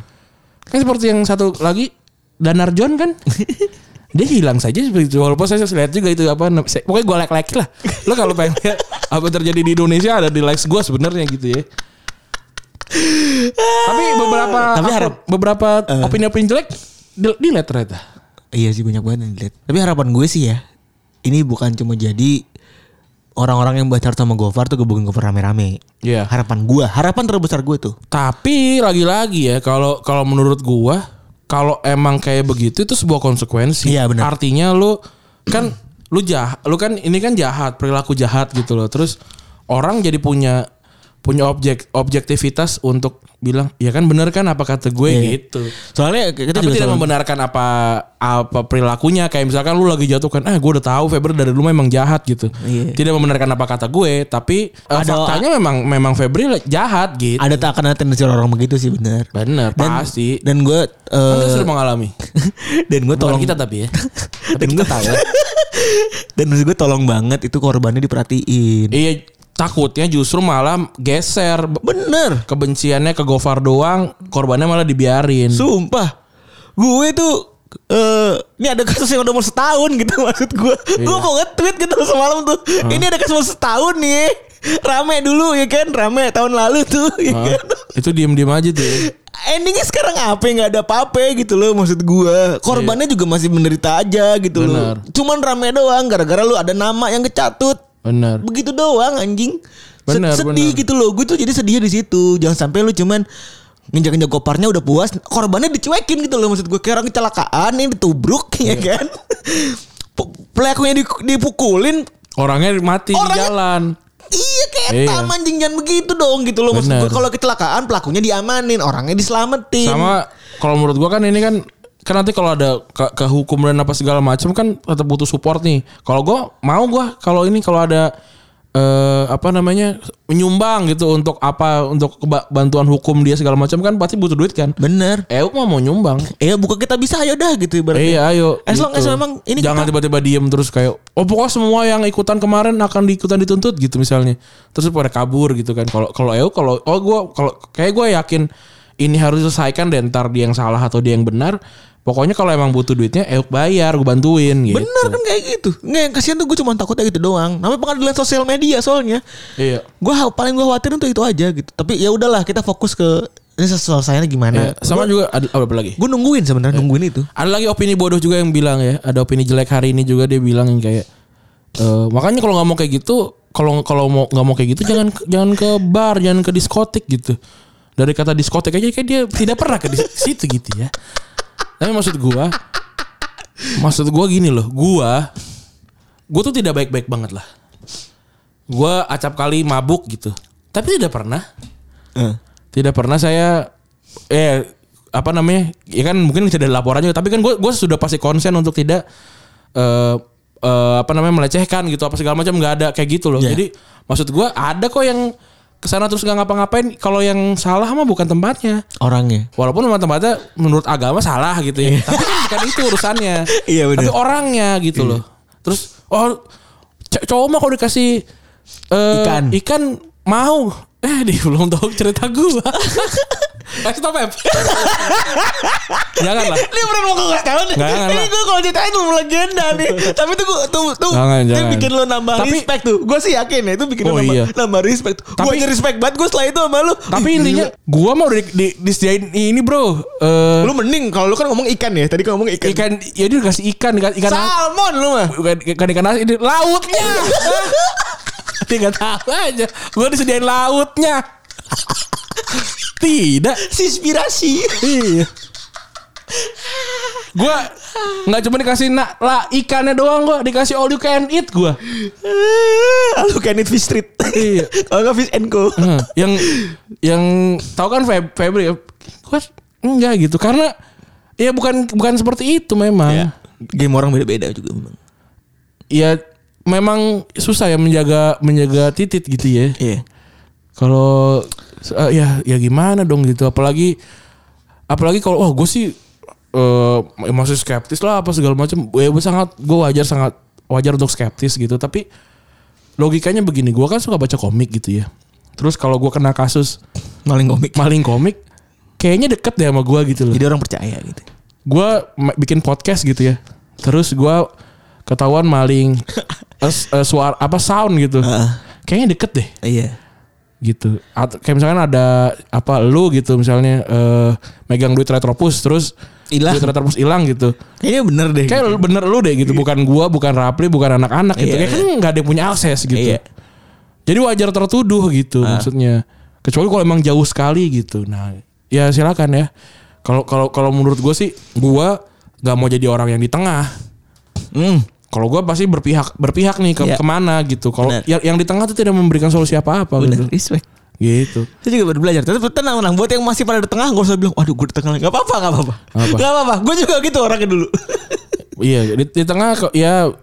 S2: Kan seperti yang satu lagi Danar John kan dia hilang saja seperti itu walaupun saya lihat juga itu apa nam- saya- pokoknya gue like like lah lo kalau pengen lihat apa terjadi di Indonesia ada di likes gue sebenarnya gitu ya tapi beberapa
S3: Tapi
S2: apa-
S3: harap- Eh.
S2: beberapa opini-opini jelek di, di ternyata
S3: Iya sih banyak banget yang dilihat. Tapi harapan gue sih ya, ini bukan cuma jadi orang-orang yang bacar sama Gofar tuh gebukin Gofar rame-rame.
S2: Iya.
S3: Harapan gue, harapan terbesar gue tuh.
S2: Tapi lagi-lagi ya kalau kalau menurut gua kalau emang kayak begitu itu sebuah konsekuensi.
S3: Iya, benar.
S2: Artinya lu kan lu jah lu kan ini kan jahat, perilaku jahat gitu loh. Terus orang jadi punya punya objek objektivitas untuk bilang ya kan bener kan apa kata gue
S3: Iya.
S2: gitu.
S3: Soalnya kita
S2: Tapi tidak
S3: juga selalu-
S2: membenarkan apa apa perilakunya kayak misalkan lu lagi jatuh kan eh gue udah tahu Feber dari dulu memang jahat gitu.
S3: Iya.
S2: Tidak membenarkan apa kata gue tapi eh,
S3: Ada-
S2: faktanya memang memang Febri jahat gitu.
S3: ada tak ada tendensi orang begitu sih bener.
S2: Bener
S3: Dan,
S2: pasti.
S3: Dan gue eh,
S2: Anda sudah mengalami.
S3: dan gue
S2: Bukan
S3: tolong
S2: kita tapi ya.
S3: dan gue tahu. dan maksud gue tolong banget itu korbannya diperhatiin.
S2: iya takutnya justru malah geser B-
S3: Bener,
S2: kebenciannya ke Gofar doang, korbannya malah dibiarin.
S3: sumpah. Gue tuh eh ini ada kasus yang udah mau setahun gitu maksud gue.
S2: Iya.
S3: Gue mau nge-tweet gitu semalam tuh. Ini ada kasus mau setahun nih. ya. Rame dulu ya kan, rame tahun lalu tuh ya
S2: Hah?
S3: kan.
S2: Itu diem-diem aja tuh. ya.
S3: Endingnya sekarang apa ya? nggak ada apa-apa gitu loh maksud gua Korbannya juga masih menderita aja
S2: Iya.
S3: gitu
S2: Benar.
S3: loh. Cuman rame doang gara-gara lu ada nama yang kecatut.
S2: Bener.
S3: Begitu doang anjing. Se-
S2: Benar, benar.
S3: sedih gitu loh. Gue tuh jadi sedih di situ. Jangan sampai lu cuman nginjak-injak koparnya udah puas, korbannya dicuekin gitu loh maksud gue. Kayak orang kecelakaan ini ditubruk
S2: Iya.
S3: ya kan. Pe- Pelakunya di- dipukulin
S2: Orangnya mati di
S3: Orangnya-
S2: jalan.
S3: Iya kayak
S2: Iya.
S3: taman anjing jangan begitu dong gitu loh maksud
S2: Benar.
S3: gue kalau kecelakaan pelakunya diamanin orangnya diselamatin
S2: Sama kalau menurut gua kan ini kan kan nanti kalau ada ke, ke hukum dan apa segala macam kan tetap butuh support nih. Kalau gua mau gua kalau ini kalau ada eh apa namanya menyumbang gitu untuk apa untuk keba- bantuan hukum dia segala macam kan pasti butuh duit kan.
S3: Bener.
S2: Euk mah mau nyumbang.
S3: Iya buka kita bisa ayo dah gitu ibaratnya.
S2: Iya, ayo.
S3: As long as memang ini
S2: jangan
S3: kita-
S2: tiba-tiba diem terus kayak oh pokoknya semua yang ikutan kemarin akan diikutan dituntut gitu misalnya. Terus pada kabur gitu kan. Kalau kalau ayo kalau oh gua kalau kayak gua yakin ini harus diselesaikan dan ntar dia yang salah atau dia yang benar. Pokoknya kalau emang butuh duitnya Euk bayar, gue bantuin gitu.
S3: Bener kan kayak gitu. Nggak yang kasihan tuh gue cuma takutnya gitu doang. Namanya pengadilan sosial media soalnya.
S2: Iya.
S3: Gue hal- paling gue khawatirin tuh itu aja gitu. Tapi ya udahlah kita fokus ke ini selesainya gimana.
S2: Sama juga ada oh, apa lagi?
S3: Gue nungguin sebenarnya nungguin itu.
S2: Ada lagi opini bodoh juga yang bilang ya. Ada opini jelek hari ini juga dia bilang yang kayak eh, makanya kalau nggak mau kayak gitu, kalau kalau mau nggak mau kayak gitu jangan jangan ke bar, jangan ke diskotik gitu. Dari kata diskotik aja kayak dia tidak pernah ke dis- situ gitu ya. Tapi maksud gua maksud gua gini loh, gua gua tuh tidak baik-baik banget lah. Gua acap kali mabuk gitu. Tapi tidak pernah
S3: Eh.
S2: tidak pernah saya eh apa namanya ya kan mungkin bisa dari laporannya tapi kan gue gue sudah pasti konsen untuk tidak eh eh, apa namanya melecehkan gitu apa segala macam nggak ada kayak gitu loh
S3: Iya.
S2: jadi maksud gue ada kok yang kesana terus nggak ngapa-ngapain kalau yang salah mah bukan tempatnya
S3: Orangnya.
S2: walaupun memang tempatnya menurut agama salah gitu ya tapi kan bukan itu urusannya
S3: Iya, benar. Iya.
S2: tapi orangnya gitu loh terus oh c- cowok mah kalau dikasih eh,
S3: Ikan.
S2: ikan mau eh dia belum tahu cerita gua Kasih tau Pep Jangan lah
S3: Ini Eh, pernah mau gue tahu nih.
S2: Nggak, nggak,
S3: Ini
S2: nggak.
S3: gue kalau ceritain lu legenda nih. Tapi tuh gue tuh tuh
S2: Jangan,
S3: itu
S2: jangan.
S3: bikin lo nambah
S2: Tapi-
S3: respect tuh. Gue sih yakin ya itu bikin
S2: Oh,
S3: lo nambah,
S2: iya.
S3: nambah respect. Gue
S2: Tapi-
S3: aja respect banget gue setelah itu sama lu.
S2: Tapi
S3: Ih,
S2: intinya Gua mau di, di, disediain ini bro Eh
S3: gila. lu mending kalau lu kan ngomong ikan ya. Tadi kan ngomong ikan.
S2: Ikan Ya dia dikasih ikan Ikan Ikan,
S3: Salmon lu mah.
S2: bukan ikan, ikan asin ini Lautnya Tinggal tahu aja Gua disediain lautnya Tidak
S3: Sispirasi.
S2: Iya. Gua Nggak cuma dikasih nak lah ikannya doang gua, dikasih all you can eat gua.
S3: Lalu can eat fish street.
S2: Iya.
S3: Kalau nggak fish and co.
S2: Heeh. Hmm, yang yang tahu kan Feb- Febri ya? Gua enggak gitu karena ya bukan bukan seperti itu memang.
S3: Ya. Game orang beda-beda juga memang.
S2: Ya memang susah ya menjaga menjaga titit gitu ya.
S3: Iya.
S2: Kalau eh, ya ya gimana dong gitu apalagi apalagi kalau wah gue sih eh masih skeptis lah apa segala macam. Ya gue sangat gue wajar sangat wajar untuk skeptis gitu tapi logikanya begini gue kan suka baca komik gitu ya. Terus kalau gue kena kasus
S3: Maling komik.
S2: maling komik kayaknya deket deh sama gue gitu loh.
S3: Jadi orang percaya gitu.
S2: Gue ma- bikin podcast gitu ya. Terus gue ketahuan maling eh, s- eh, suara apa sound gitu.
S3: Heeh.
S2: Kayaknya deket deh
S3: Iya.
S2: gitu. Atau kayak misalkan ada apa lu gitu misalnya eh megang duit retropus terus
S3: Hilang. Iya,
S2: duit retropus hilang gitu.
S3: Kayaknya bener deh.
S2: Kayak lu- bener lu deh gitu, bukan gua, bukan Rapli, bukan anak-anak gitu.
S3: Iya,
S2: Kayak kan nggak ada yang punya akses gitu.
S3: Iya. Ah.
S2: Jadi wajar tertuduh gitu maksudnya. Kecuali kalau emang jauh sekali gitu. Nah, ya silakan ya. Kalau kalau kalau menurut gue sih, gua nggak mau jadi orang yang di tengah.
S3: Hmm.
S2: Kalau gua pasti berpihak berpihak nih ke
S3: Iya.
S2: kemana gitu. Kalau
S3: Benar.
S2: yang, yang di tengah tuh tidak memberikan solusi apa-apa
S3: Bener.
S2: gitu.
S3: Respect.
S2: Gitu.
S3: Saya juga baru belajar. Tapi tenang, tenang. Buat yang masih pada di tengah, gak usah bilang, waduh gue di tengah. Gak apa-apa, gak apa-apa.
S2: Apa?
S3: Gak apa-apa. Gue juga gitu orangnya dulu.
S2: Iya di, di tengah kok ya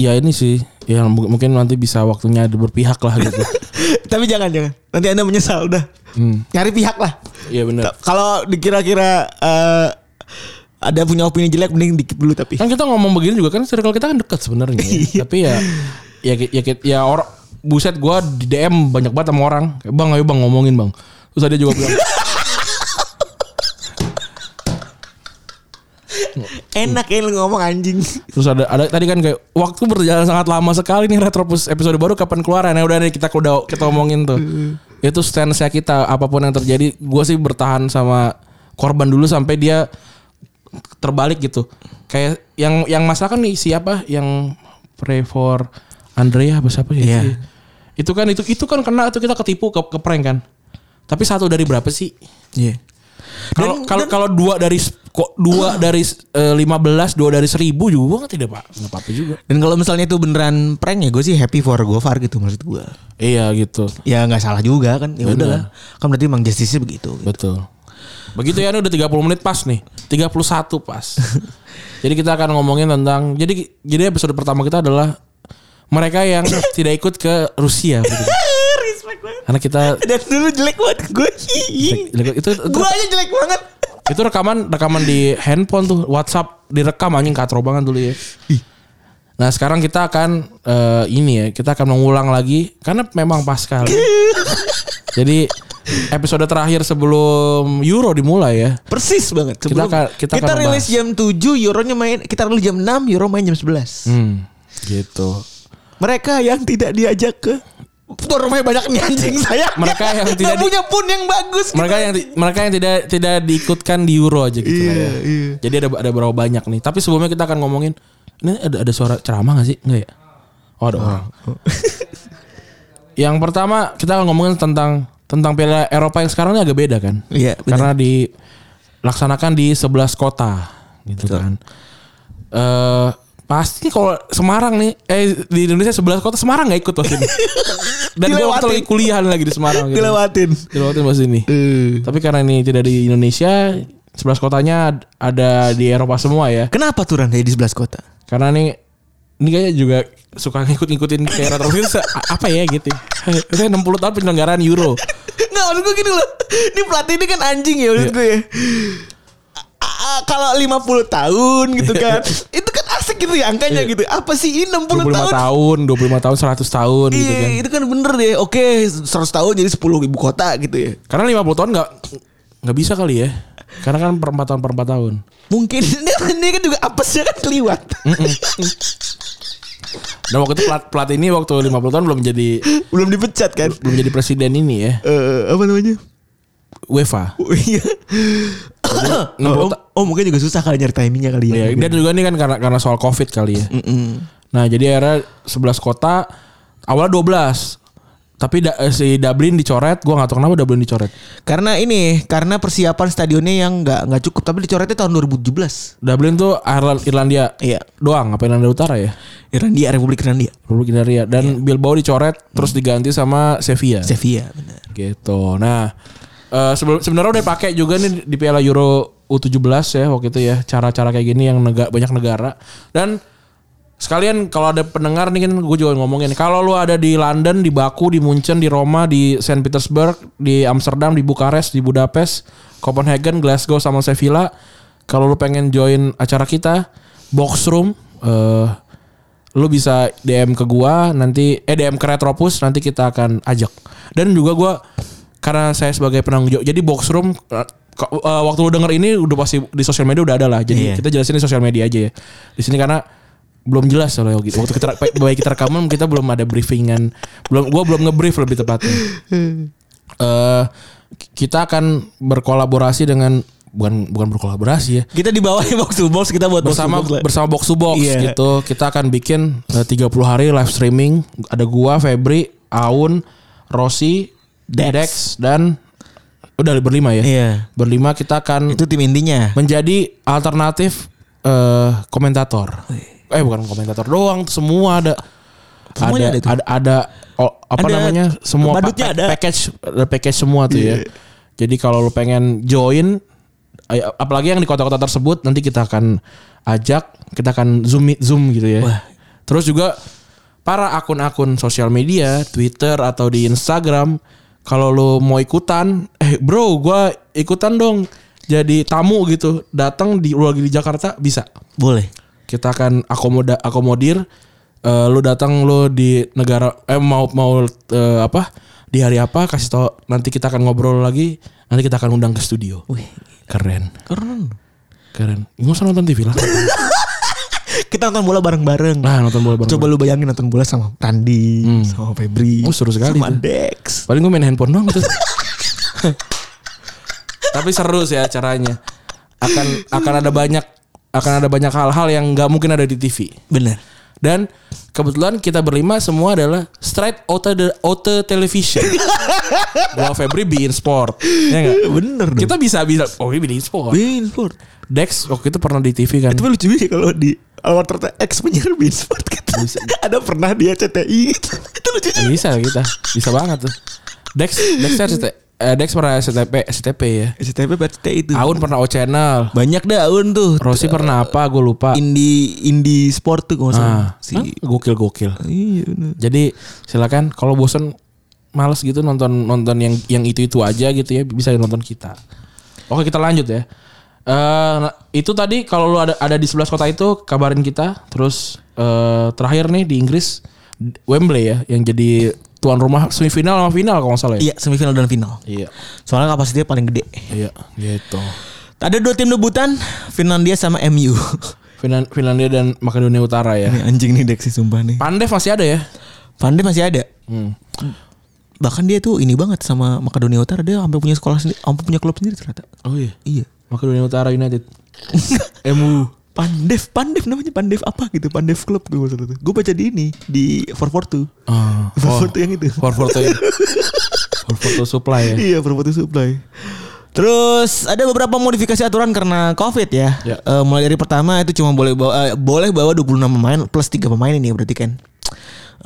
S2: ya ini sih ya mu- mungkin nanti bisa waktunya ada berpihak lah gitu.
S3: Tapi jangan, jangan. Nanti anda menyesal, udah. Nyari pihak lah.
S2: Iya benar.
S3: Ta- Kalau dikira-kira eh, ada punya opini jelek, mending dikit dulu tapi.
S2: Kan kita ngomong begini juga kan circle kita kan dekat sebenarnya. ya. Tapi ya ya ki- ya ki- ya orang buset gua di DM banyak banget sama orang. Kayak, bang ayo bang ngomongin bang. Terus ada juga bilang
S3: Enak ya lu ngomong anjing.
S2: terus ada ada tadi kan kayak waktu berjalan sangat lama sekali nih retropus episode baru kapan keluar ya udah nih kita udah kita omongin tuh itu stance nya kita apapun yang terjadi gue sih bertahan sama korban dulu sampai dia terbalik gitu kayak yang yang masalah kan nih siapa yang pray for Andrea apa siapa ya
S3: Iya.
S2: itu kan itu itu kan kena tuh kita ketipu ke, ke prank kan tapi satu dari berapa sih
S3: Iya.
S2: kalau kalau kalau dua dari s- kok dua dari eh, lima belas dua dari seribu juga tidak pak nggak apa-apa juga
S3: Dan kalau misalnya itu beneran prank ya gue sih happy for Gofar gitu maksud gue.
S2: Iya gitu.
S3: Ya nggak salah juga kan. Ya udah lah. Kan berarti emang justice begitu. gitu.
S2: Betul. Begitu ya ini udah 30 menit pas nih. 31 pas. jadi kita akan ngomongin tentang jadi jadi episode pertama kita adalah mereka yang tidak ikut ke Rusia. gitu.
S3: Ah, Respect banget.
S2: Karena kita
S3: Dan dulu jelek banget gue.
S2: itu, itu, itu,
S3: Gue aja jelek banget.
S2: itu rekaman rekaman di handphone tuh WhatsApp direkam anjing katro banget dulu ya. Nah sekarang kita akan eh, ini ya kita akan mengulang lagi karena memang pas sekali. Jadi episode terakhir sebelum Euro dimulai ya.
S3: Persis banget.
S2: Kita akan- kita akan
S3: rilis
S2: membahas.
S3: jam 7, Euronya main kita rilis jam 6, Euro main jam 11.
S2: Hmm, gitu.
S3: Mereka yang tidak diajak ke Tuan rumahnya banyak nih anjing saya.
S2: Mereka yang
S3: Nggak
S2: tidak di-
S3: punya pun yang bagus.
S2: Mereka yang ti- mereka yang tidak tidak diikutkan di Euro aja gitu lah ya.
S3: Iya, iya.
S2: Jadi ada ada berapa banyak nih. Tapi sebelumnya kita akan ngomongin ini ada ada suara ceramah gak sih? Enggak ya? Oh, ada orang. yang pertama kita akan ngomongin tentang tentang Piala Eropa yang sekarang ini agak beda kan?
S3: Iya, benar.
S2: Karena dilaksanakan di 11 kota gitu kan. Eh pasti kalau Semarang nih eh di Indonesia 11 kota Semarang nggak ikut waktu ini. Dan gue waktu
S3: Dilewatin.
S2: lagi kuliahan lagi di Semarang gitu.
S3: dilewatin.
S2: Dilewatin pas ini.
S3: Eh.
S2: Tapi karena ini tidak di Indonesia, 11 kotanya ad- ada di Eropa semua ya.
S3: Kenapa tuh Rantai di 11 kota?
S2: Karena nih ini kayaknya juga suka ngikut-ngikutin kayak rata apa ya gitu. Itu 60 tahun penyelenggaraan Euro.
S3: Nggak maksud gue gini loh Ini pelatih ini kan anjing ya maksud
S2: Iya.
S3: gue ya A- a- Kalau 50 tahun gitu kan Itu kan asik gitu ya angkanya gitu Apa sih ini 60
S2: 25
S3: tahun
S2: tahun, 25 tahun, 100 tahun gitu kan.
S3: Iya itu kan bener deh Oke 100 tahun jadi 10 ibu kota gitu ya
S2: Karena 50 tahun nggak nggak bisa kali ya. Karena kan per 4 tahun per 4 tahun.
S3: Mungkin ini, ini kan juga apesnya kan keliwat
S2: Dan waktu itu pelat, pelat ini waktu 50 tahun belum jadi
S3: Belum dipecat kan
S2: belum jadi presiden ini ya.
S3: Eh, Apa namanya
S2: UEFA.
S3: Oh, Iya oh,
S2: ta-
S3: oh, mungkin juga susah kali nyari timingnya kali ya
S2: Iya, dan juga ini kan karena karena soal Covid kali ya.
S3: Mm-mm.
S2: Nah, jadi akhirnya 11 kota awalnya 12. Tapi da- eh, si Dublin dicoret, gua nggak tahu kenapa Dublin dicoret.
S3: Karena ini, karena persiapan stadionnya yang nggak nggak cukup, tapi dicoretnya tahun 2017.
S2: Dublin tuh Ireland, Irlandia
S3: Iya.
S2: doang, apa Irlandia Utara ya?
S3: Irlandia, Republik Irlandia.
S2: Republik Irlandia dan Bilbao dicoret terus diganti sama Sevilla.
S3: Sevilla, benar.
S2: gitu. Nah, eh sebelum sebenarnya udah pakai juga nih di Piala Euro U17 ya waktu itu ya cara-cara kayak gini yang nega, banyak negara dan sekalian kalau ada pendengar nih kan gue juga ngomongin kalau lu ada di London, di Baku, di Munchen, di Roma, di Saint Petersburg, di Amsterdam, di Bukares, di Budapest, Copenhagen, Glasgow sama Sevilla, kalau lu pengen join acara kita Box Room eh lu bisa DM ke gua nanti eh DM ke Retropus nanti kita akan ajak. Dan juga gua karena saya sebagai penanggung jawab jadi box room eh, ko- eh, waktu lu denger ini udah pasti di sosial media udah ada lah. Jadi
S3: Iya.
S2: kita jelasin di sosial media aja ya. Di sini karena belum jelas soalnya gitu. Waktu kita baik kita rekaman kita belum ada briefingan. Belum gua belum ngebrief lebih tepatnya. Eh kita akan berkolaborasi dengan bukan bukan berkolaborasi ya
S3: Kita di bawah ya, box to box kita buat box to
S2: bersama
S3: box lah.
S2: bersama box to box
S3: Iya.
S2: gitu. Kita akan bikin eh, 30 hari live streaming. Ada gua, Febri, Aun, Rossi, Dex,
S3: Dex.
S2: dan udah berlima ya.
S3: Iya.
S2: Berlima kita akan
S3: Itu tim intinya.
S2: menjadi alternatif eh, komentator. Eh bukan komentator doang, semua ada
S3: Semuanya
S2: ada ada,
S3: ada itu.
S2: ada, oh, apa
S3: Ada.
S2: namanya? Semua pa- pa-
S3: Badutnya ada.
S2: package ada package semua tuh ya. Jadi kalau lu pengen join ay- apalagi yang di kota-kota tersebut nanti kita akan ajak, kita akan zoom meet- zoom gitu ya. Terus juga para akun-akun sosial media, Twitter atau di Instagram, kalau lu mau ikutan, eh bro, gua ikutan dong jadi tamu gitu, datang di lu lagi di Jakarta bisa.
S3: Boleh.
S2: Kita akan akomoda akomodir eh, lu datang lu di negara eh mau mau eh, apa? Di hari apa kasih tau nanti kita akan ngobrol lagi, nanti kita akan undang ke studio.
S3: Wih,
S2: Keren.
S3: keren.
S2: Keren. Nggak usah nonton TV lah.
S3: Kita nonton bola bareng-bareng. Hmm.
S2: Nah, nonton bola bareng.
S3: Coba lu bayangin nonton bola sama Tandi, sama Febri,
S2: Oh, seru sekali
S3: sama
S2: tuh.
S3: Dex.
S2: Paling gue main handphone doang terus. Tapi seru sih acaranya. Akan akan ada banyak akan ada banyak hal-hal yang nggak mungkin ada di TV.
S3: Bener.
S2: Dan kebetulan kita berlima semua adalah straight out of the, out of television. Gua Febri biin sport. Ya nggak?
S3: Bener dong.
S2: Kita bisa bisa oh ini biin sport.
S3: Bein Sport.
S2: Dex waktu itu pernah di TV kan.
S3: Tapi lucu juga kalau di award ternyata ex penyiar Bein Sport gitu. Ada pernah dia CTI gitu. Itu lucu juga.
S2: Ya, Bisa kita. Bisa banget tuh. Dex Dex RCT- eh, Dex pernah STP STP ya.
S3: STP PCTI itu.
S2: Aun pernah O Channel.
S3: Banyak dah Aun tuh.
S2: Rossi pernah apa? Gue lupa.
S3: Indie indie sport tuh kalau nggak salah.
S2: Ah,
S3: Si
S2: hah? gokil gokil.
S3: Iya bener.
S2: Jadi silakan kalau bosen males gitu nonton nonton yang yang itu itu aja gitu ya bisa nonton kita. Oke kita lanjut ya. Eh, nah, itu tadi kalau lu ada ada di 11 kota itu kabarin kita. Terus eh, terakhir nih di Inggris Wembley ya yang jadi tuan rumah semifinal sama final kalau nggak salah ya.
S3: Iya semifinal dan final.
S2: Iya.
S3: Soalnya kapasitasnya paling gede.
S2: Iya, gitu.
S3: Ada dua tim debutan, Finlandia sama MU.
S2: Finan- Finlandia dan Makedonia Utara ya.
S3: Ini anjing nih Dexi sumpah nih.
S2: Pandev masih ada ya?
S3: Pandey masih ada.
S2: Hmm.
S3: Bahkan dia tuh ini banget sama Makedonia Utara dia sampai punya sekolah sendiri, sampai punya klub sendiri ternyata.
S2: Oh iya.
S3: Iya.
S2: Makedonia Utara United. MU.
S3: Pandev, Pandev namanya Pandev apa gitu? Pandev Club gue maksudnya tuh. Gue baca di ini di 442.
S2: Ah, oh,
S3: 442 yang itu.
S2: for photo for photo supply ya.
S3: Iya, 442 supply. Terus ada beberapa modifikasi aturan karena Covid ya.
S2: Ya.
S3: Eh, mulai dari pertama itu cuma boleh bawa eh, boleh bawa 26 pemain plus 3 pemain ini ya berarti kan.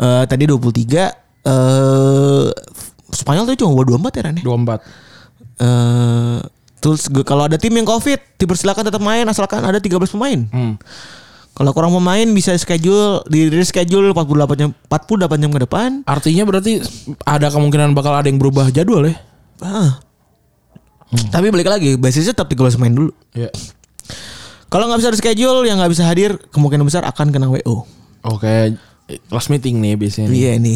S3: Eh tadi 23 eh Spanyol tuh cuma bawa 24 ya Ran, ya?
S2: 24.
S3: Eh, terus gue- kalau ada tim yang covid dipersilakan tetap main asalkan ada 13 pemain.
S2: Hmm.
S3: Kalau kurang pemain bisa schedule di reschedule 48 jam 48 jam ke depan.
S2: Artinya berarti ada kemungkinan bakal ada yang berubah jadwal ya.
S3: Ah. Tapi balik lagi basisnya tetap 13 pemain dulu.
S2: Iya.
S3: Kalau nggak bisa reschedule yang nggak bisa hadir kemungkinan besar akan kena WO.
S2: Oke, Oh, last meeting nih biasanya. nih.
S3: Iya ini.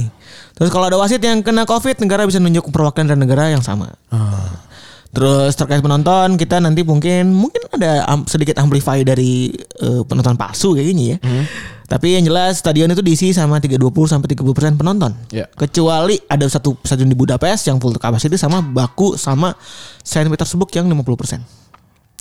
S3: Terus kalau ada wasit yang kena covid negara bisa nunjuk perwakilan dari negara yang sama.
S2: Ah,
S3: Terus terkait penonton kita nanti mungkin mungkin ada am- sedikit amplify dari eh, penonton palsu kayak gini ya.
S2: Hmm.
S3: Tapi yang jelas stadion itu diisi sama 320 sampai 30% penonton.
S2: Iya.
S3: Kecuali ada satu stadion di Budapest yang full capacity sama Baku sama Saint Petersburg yang 50%.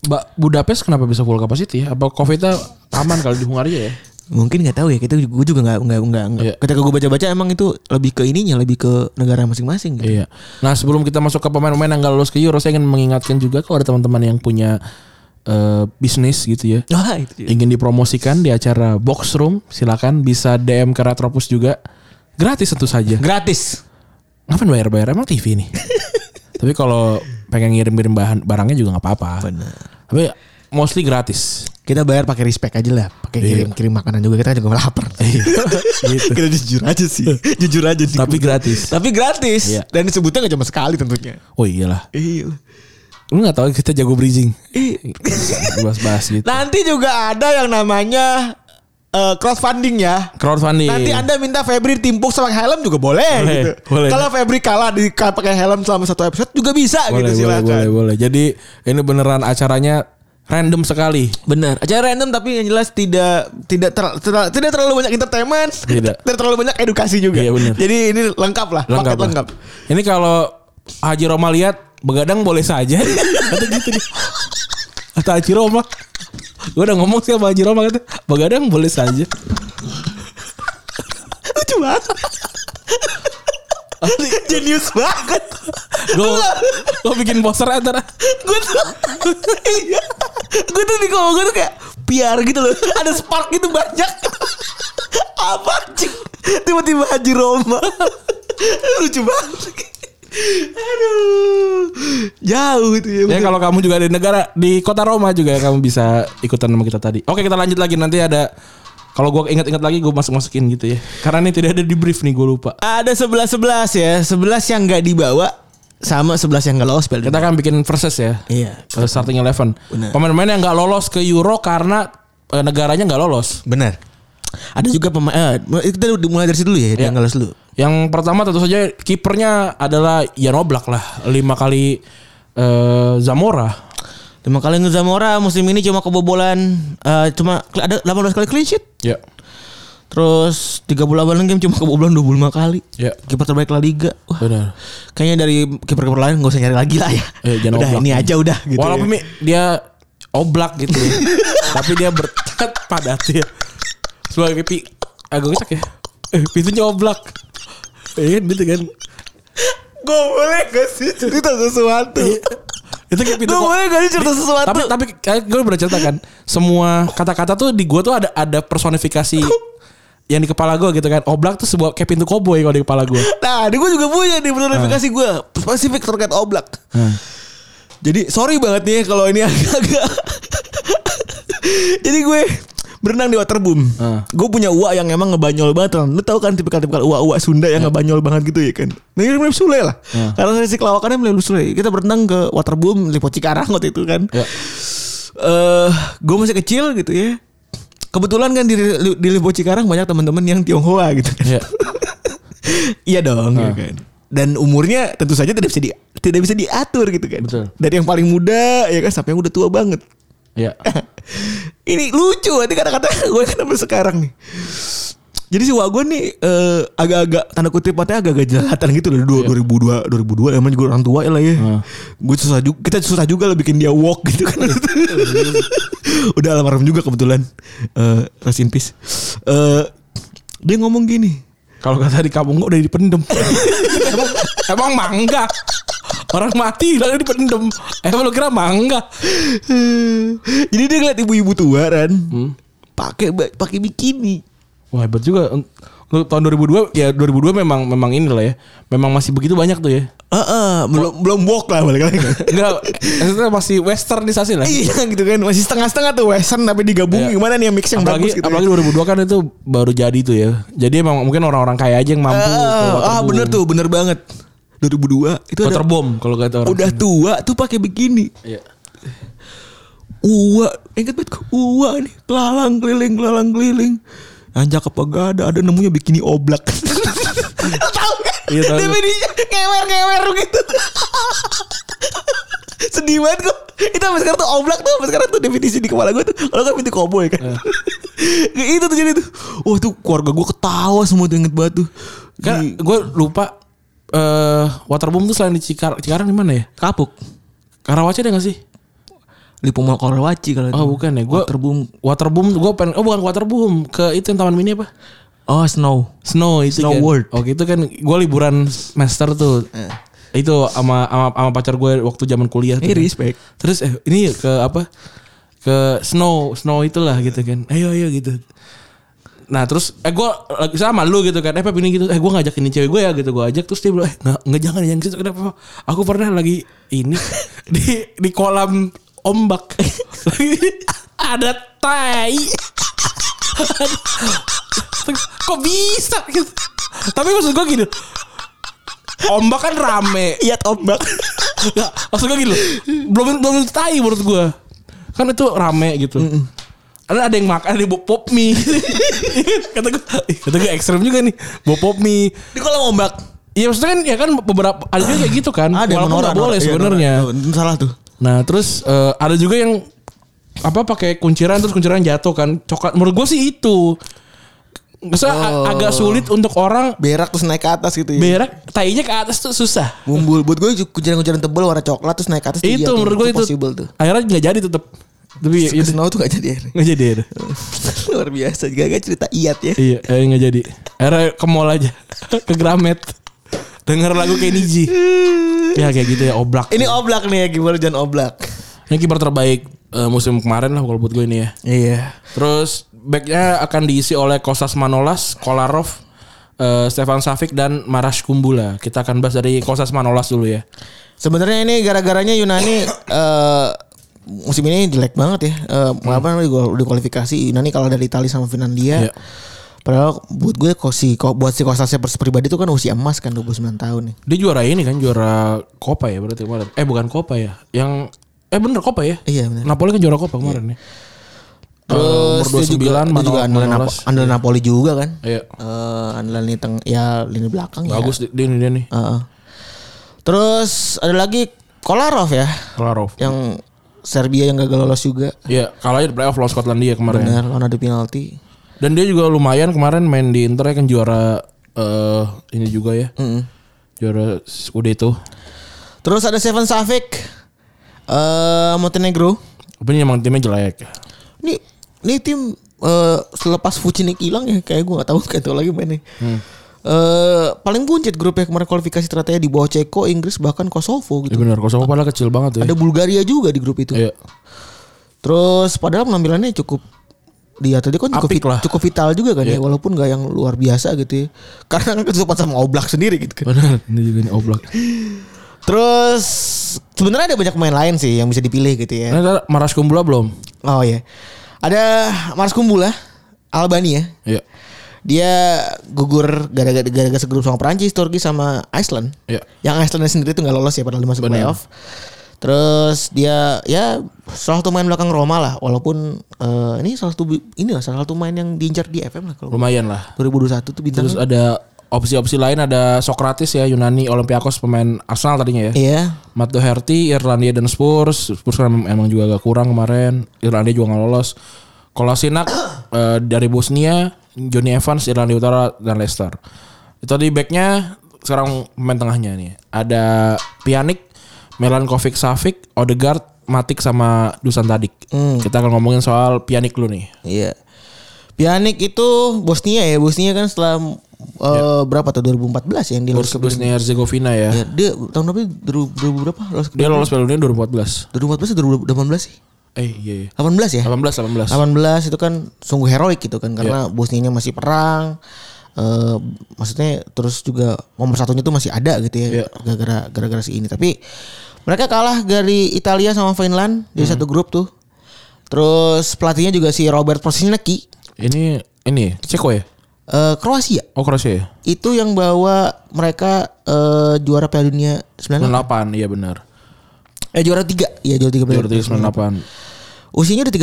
S2: Mbak Budapest kenapa bisa full capacity ya? Apa Covid-nya aman kalau di Hungaria ya?
S3: Mungkin nggak tahu ya kita gue juga nggak nggak nggak nggak-
S2: Iya.
S3: ketika gue baca-baca emang itu lebih ke ininya lebih ke negara masing-masing gitu.
S2: Iya. Nah sebelum kita masuk ke pemain-pemain yang gak lolos ke Euro, saya ingin mengingatkan juga kalau ada teman-teman yang punya eh, bisnis gitu ya,
S3: Wah itu dia.
S2: ingin dipromosikan di acara Box Room, silakan bisa DM ke Retropus juga, gratis tentu saja.
S3: gratis.
S2: Ngapain bayar-bayar emang TV nih? Tapi kalau pengen ngirim-ngirim bahan barangnya juga nggak apa-apa. Tapi mostly gratis.
S3: Kita bayar pakai respect aja
S2: Iya.
S3: lah, pakai kirim kirim makanan juga kita juga lapar. kita jujur aja sih, jujur aja sih.
S2: gitu. Tapi gratis.
S3: Tapi gratis
S2: Iya.
S3: dan disebutnya nggak cuma sekali tentunya.
S2: Oh iyalah.
S3: Iya.
S2: Lu nggak tahu kita jago bridging. Bahas-bahas gitu.
S3: Nanti juga ada yang namanya eh, crowdfunding ya.
S2: Crowdfunding.
S3: Nanti Anda minta Febri timpuk sama helm juga boleh,
S2: Iya. Boleh,
S3: gitu.
S2: boleh.
S3: Kalau Febri kalah di pakai helm selama satu episode juga bisa
S2: boleh,
S3: gitu
S2: boleh,
S3: silakan.
S2: boleh, boleh. Jadi ini beneran acaranya random sekali.
S3: Benar. Acara random tapi yang jelas tidak tidak ter- ter- tidak terlalu banyak entertainment,
S2: Tidak.
S3: tidak terlalu banyak edukasi juga.
S2: Iya, benar.
S3: Jadi ini lengkap lah,
S2: Lengkap.
S3: paket
S2: lah.
S3: lengkap.
S2: Ini kalau Haji Roma lihat begadang boleh saja. Kata gitu nih. Kata Haji Roma. Gue udah ngomong sih sama Haji Roma kata begadang boleh saja.
S3: Lucu banget. Jenius banget.
S2: Gue gue bikin poster ya, antara
S3: gue tuh iya gue tuh di ngomong gue tuh kayak piar gitu loh ada spark gitu banyak apa cik tiba-tiba Haji Roma lucu banget aduh jauh itu ya,
S2: Ya kalau kamu juga ada di negara di kota Roma juga ya, kamu bisa ikutan sama kita tadi. Oke kita lanjut lagi nanti ada kalau gue ingat-ingat lagi gue masuk masukin gitu ya. Karena ini tidak ada di brief nih gue lupa.
S3: ada sebelas sebelas ya sebelas yang nggak dibawa sama sebelas yang nggak lolos Piala
S2: Kita
S3: Dunia.
S2: akan bikin versus ya.
S3: iya
S2: Eh, Starting eleven.
S3: Benar.
S2: Pemain-pemain yang nggak lolos ke Euro karena eh, negaranya nggak lolos.
S3: benar ada juga pemain eh, kita mulai dari situ dulu ya yang nggak lolos dulu
S2: Yang pertama tentu saja kipernya adalah Jan Oblak lah lima kali eh, Zamora.
S3: Lima kali Zamora musim ini cuma kebobolan eh, cuma ada 18 kali clean sheet.
S2: Ya.
S3: Terus 38 game cuma kebobolan 25 kali.
S2: Ya.
S3: Kiper terbaik La Liga. Wah,
S2: Benar.
S3: kayaknya dari kiper-kiper lain gak usah nyari lagi lah ya.
S2: Eh, jangan
S3: udah
S2: oblak.
S3: ini aja udah gitu.
S2: Walaupun
S3: ya.
S2: Mi, dia oblak gitu ya. Tapi dia bertekad padat ya. Sebagai pi agak kocak ya. Eh, pintunya oblak. Eh,
S3: Iya
S2: gitu kan.
S3: gue boleh gak sih cerita sesuatu?
S2: Itu kayak pintu
S3: Gue boleh gak sih cerita sesuatu?
S2: tapi tapi kayak gue pernah cerita kan semua kata-kata tuh di gue tuh ada ada personifikasi yang di kepala gue gitu kan oblak tuh sebuah kayak pintu koboi kalau di kepala gue
S3: Nah, ini gue juga punya nih
S2: Ah.
S3: personifikasi gue spesifik terkait oblak.
S2: Hmm.
S3: Jadi sorry banget nih ya kalau ini agak-agak. Jadi gue berenang di waterboom.
S2: Ah.
S3: Gue punya uak yang emang ngebanyol banget. Ron. Lu tau kan tipikal-tipikal uak-uak Sunda
S2: Ah.
S3: yang ngebanyol banget gitu ya kan. Nah ini mirip Sule lah.
S2: Ya.
S3: Karena sisi lawakannya mirip Sule. Kita berenang ke waterboom Lipo Cikarang waktu itu kan.
S2: Ya.
S3: Eh, gue masih kecil gitu ya. Kebetulan kan di, di Lipo Cikarang banyak teman-teman yang Tionghoa gitu kan.
S2: Iya.
S3: Iya dong, ya kan. Dan umurnya tentu saja tidak bisa di, tidak bisa diatur gitu kan.
S2: Betul.
S3: Dari yang paling muda ya kan sampai yang udah tua banget.
S2: ya
S3: Ini lucu nanti kata-kata gue kan sampai sekarang nih. Jadi si Wak gue nih eh, agak-agak tanda kutip matanya agak-agak jelatan gitu loh dua 2002 2002 emang juga orang tua ya lah ya.
S2: Hmm.
S3: Gue susah juga kita susah juga lah bikin dia walk gitu kan. Udah almarhum juga kebetulan. Eh rest in peace. Eh, dia ngomong gini.
S2: kalau kata di kampung gue udah dipendem emang, emang mangga orang mati lalu dipendem
S3: Eh,
S2: emang lu kira mangga
S3: Jadi dia ngeliat ibu-ibu tua kan.
S2: Hmm.
S3: Pakai ba- pakai bikini.
S2: wah hebat juga untuk tahun 2002 ya 2002 memang memang inilah ya memang masih begitu banyak tuh ya
S3: Heeh, belum belum walk lah balik lagi.
S2: enggak maksudnya masih westernisasi lah
S3: iya gitu kan masih setengah-setengah tuh western tapi digabung
S2: Iya.
S3: gimana nih yang mix yang
S2: apalagi
S3: bagus gitu.
S2: apalagi
S3: ya.
S2: 2002 kan itu baru jadi tuh ya jadi emang mungkin orang-orang kaya aja yang mampu
S3: Ah,
S2: kalau
S3: ah
S2: waterboom.
S3: bener tuh, bener banget. 2002 itu ada,
S2: waterboom kalau kata orang
S3: udah tua tuh pakai bikini.
S2: Iya.
S3: Uwa, inget banget gue, uwa nih, kelalang keliling, kelalang keliling. Anjak apa gak ada, ada nemunya bikini oblak. tahu kan?
S2: Iya, tahu.
S3: Definisinya ngewer-ngewer gitu. Sedih banget gue. Itu sampai sekarang tuh oblak tuh, sampai sekarang tuh definisi di kepala gue tuh. Kalau kan pintu koboi kan. itu tuh jadi tuh. Wah tuh keluarga gue ketawa semua tuh inget banget tuh.
S2: kan
S3: Di
S2: gue lupa eh waterboom tuh selain di Cikar Cikarang di mana ya
S3: kapuk.
S2: Karawaci ada gak sih
S4: Lipo Mall Karawaci kalau itu.
S2: Oh bukan ya, gue
S4: Waterboom.
S2: Waterboom, gue pengen, oh bukan Waterboom, ke itu yang taman mini apa?
S4: Oh, Snow.
S2: Snow itu
S4: Snow
S2: kan.
S4: World.
S2: Oke itu kan gue liburan semester tuh. Itu sama sama, sama pacar gue waktu zaman kuliah tuh. kan.
S4: Eh, respect.
S2: Terus eh, ini yuk ke apa? Ke Snow, Snow itulah gitu kan. Ayo ayo gitu. Nah terus eh gue lagi sama lu gitu kan Eh Pep ini gitu Eh gue ngajak ini cewek gue ya gitu Gue ajak terus dia bilang Eh nggak, nggak jangan yang gitu Kenapa Pep? Aku pernah lagi ini Di di kolam ombak Ada tai Kok bisa gitu Tapi maksud gue gini Ombak kan rame
S4: Iya, tombak.
S2: Nggak, maksud gue gini loh. Belum belum tai menurut gue. Kan itu rame gitu. Ada ada yang makan ada yang bawa pop mie. kata gue, "Ih, kata gue ekstrem juga nih. Bawa pop mie.
S4: Di kolam ombak.
S2: Iya maksudnya kan ya kan beberapa ada juga kayak gitu kan.
S4: Ada
S2: Walaupun nggak
S3: iya,
S2: boleh sebenarnya.
S4: Salah tuh.
S2: Nah terus eh, ada juga yang apa pakai kunciran terus kunciran jatuh kan coklat menurut gue sih itu maksudnya a-
S4: Oh.
S2: agak sulit untuk orang
S3: berak terus naik ke atas gitu ya.
S2: berak tainya ke atas tuh susah
S3: Bumbul buat gue kujaran-kujaran tebel warna coklat terus naik ke atas. tuh
S2: itu
S3: iya tuh,
S2: menurut gue itu
S3: possible tuh.
S2: akhirnya nggak jadi tetep tapi ya,
S3: Snow tuh gak jadi akhirnya.
S2: nggak jadi ya
S3: Luar biasa juga gak cerita iat ya.
S2: Iya, eh nggak jadi. Akhirnya ke mall aja, ke Gramet. Denger lagu Kenny G. Ya kayak gitu ya, oblak.
S3: Ini oblak nih ya gimana jangan oblak.
S2: Ini kiper terbaik eh, musim kemarin lah kalau buat gue ini ya.
S3: Iya.
S2: Terus backnya akan diisi oleh Kostas Manolas, Kolarov, eh, Stefan Safik dan Marash Kumbula. Kita akan bahas dari Kostas Manolas dulu ya.
S3: Sebenarnya ini gara-garanya Yunani eh musim ini jelek banget ya. Eh apa namanya di, di kualifikasi Yunani kalah dari Italia sama Finlandia.
S2: Hmm. Iya.
S3: Padahal buat gue kok si kok buat si Kostasnya pers- pribadi itu kan usia emas kan 29 tahun nih.
S2: Dia juara ini kan juara Copa ya berarti kemarin. Eh bukan Copa ya, yang eh bener Copa ya.
S3: Iya benar.
S2: Napoli kan juara Copa kemarin ya. Terus
S3: dia juga, dia juga andalan, Napo- andalan Napoli juga kan.
S2: Iya.
S3: Eh, andalan lini teng ya lini belakang ya.
S2: Bagus dia, dia nih dia nih.
S3: Heeh. Terus ada lagi Kolarov ya
S2: Kolarov.
S3: yang Serbia yang gagal lolos juga.
S2: Iya, kalah aja di playoff lawan Skotlandia kemarin.
S3: Benar, karena ada penalti.
S2: Dan dia juga lumayan kemarin main di Inter ya kan juara eh ini juga ya. Juara Scudetto.
S3: Terus ada Seven Savic eh Montenegro.
S2: Tapi ini emang timnya jelek.
S3: Ini ini tim eh, selepas Vucinic hilang ya kayak gue gak tahu kayak tahu lagi mainnya.
S2: Hmm.
S3: Eh, paling buncit grupnya kemarin kualifikasi ternyata di bawah Ceko, Inggris bahkan Kosovo
S2: Ya
S3: gitu.
S2: benar, Kosovo padahal kecil banget ya.
S3: Ada Bulgaria juga di grup itu.
S2: Iya.
S3: Terus padahal penampilannya cukup di Atletico kan cukup,
S2: Apik
S3: vit-
S2: lah. Iya.
S3: cukup vital juga kan ya walaupun gak yang luar biasa gitu ya. Karena kan ketutupan sama Oblak sendiri gitu kan.
S2: Benar, ini juga nih oblak.
S3: Terus sebenarnya ada banyak pemain lain sih yang bisa dipilih gitu ya.
S2: Nah, ada Maras Kumbula belum?
S3: Oh ya. Ada Mars Kumbula Albania.
S2: Iya.
S3: Dia gugur gara-gara gara-gara segrup sama Perancis, Turki sama Iceland.
S2: Iya.
S3: Yang Iceland sendiri tuh nggak lolos ya padahal dia masuk playoff. Terus dia ya salah satu main belakang Roma lah walaupun eh, ini salah satu ini lah salah satu main yang diincar di FM lah kalau
S2: Lumayan lah.
S3: 2021 tuh bintang.
S2: Terus ada opsi-opsi lain ada Socrates ya Yunani Olympiakos pemain Arsenal tadinya ya.
S3: Iya.
S2: Matt Doherty, Irlandia dan Spurs. Spurs kan emang, emang juga agak kurang kemarin. Irlandia juga nggak lolos. Kolasinak eh, dari Bosnia, Johnny Evans, Irlandia Utara dan Leicester. Itu tadi backnya sekarang pemain tengahnya nih. Ada Pjanic, Melankovic Savic, Odegaard, Matic sama Dusan Tadic. Kita akan ngomongin soal Pjanic dulu nih.
S3: Iya. Pianik itu Bosnia ya. Bosnia kan setelah eh, berapa tuh 2014 yang dia
S2: Ya.
S3: lolos
S2: Bos-
S3: ke
S2: Bosnia Herzegovina ya.
S3: Ya, dia tahun berapa? 2000 berapa? Lolos ke
S2: Dia lolos Piala Dunia 2014.
S3: 2014 atau 2018 sih?
S2: Eh iya iya.
S3: 18 ya?
S2: 18 18.
S3: 18 itu kan sungguh heroik gitu kan karena Bosnianya masih perang. eh maksudnya terus juga nomor satunya tuh masih ada gitu ya
S2: Iya.
S3: gara-gara gara-gara si ini. Tapi mereka kalah dari Italia sama Finland di satu grup tuh. Terus pelatihnya juga si Robert Prosinecki
S2: Ini ini Ceko ya?
S3: eh Kroasia
S2: Oh Kroasia ya?
S3: itu yang bawa mereka eh juara Piala Dunia 98.
S2: 98 iya benar.
S3: Eh juara 3. Iya juara 3 Piala
S2: Jordi 98.
S3: Usianya udah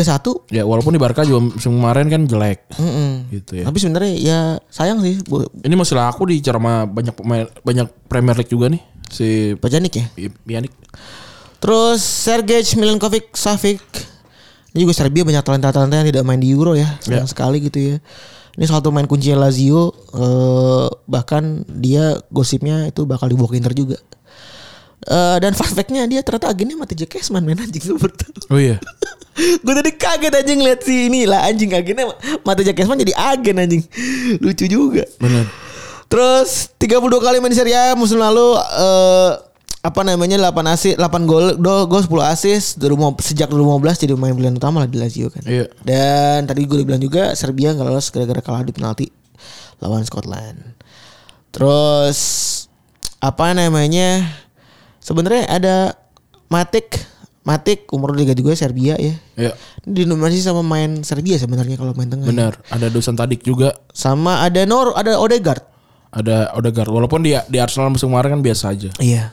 S3: 31.
S2: Ya walaupun di Barca juga musim kemarin kan jelek.
S3: Mm-mm.
S2: Gitu ya.
S3: Tapi sebenarnya ya sayang sih Bu
S2: Ini masih laku di sama banyak pemain banyak Premier League juga nih si
S3: Pajanik ya.
S2: Pi- Pjanic.
S3: Terus Sergej Milinkovic Savic. Ini juga Serbia banyak talenta-talenta yang tidak main di Euro ya. Sayang sekali gitu ya. Ini salah satu main kunci Lazio eh, bahkan dia gosipnya itu bakal dibawa ke Inter juga. Eh, dan fast fact-nya dia ternyata agennya mati Jack Cashman men anjing lu bertahu.
S2: Oh iya.
S3: gue tadi kaget aja ngeliat si ini lah anjing agennya mata Jack Cashman jadi agen anjing lucu juga benar terus 32 kali main di Serie A musim lalu eh, apa namanya 8 asis 8 gol do gol 10 asis dari mau- sejak 2015 jadi pemain pilihan utama lah di Lazio kan
S2: Iya.
S3: dan tadi gue udah bilang juga Serbia nggak lolos gara-gara kalah di penalti lawan Scotland terus apa namanya sebenarnya ada Matik Matik umur juga juga Serbia ya
S2: Iya.
S3: dinominasi sama main Serbia sebenarnya kalau main tengah.
S2: Benar. Ada Dusan Tadic juga.
S3: Sama ada Nor, ada Odegaard.
S2: Ada Odegaard. Walaupun dia di Arsenal musim kemarin kan biasa aja.
S3: Iya.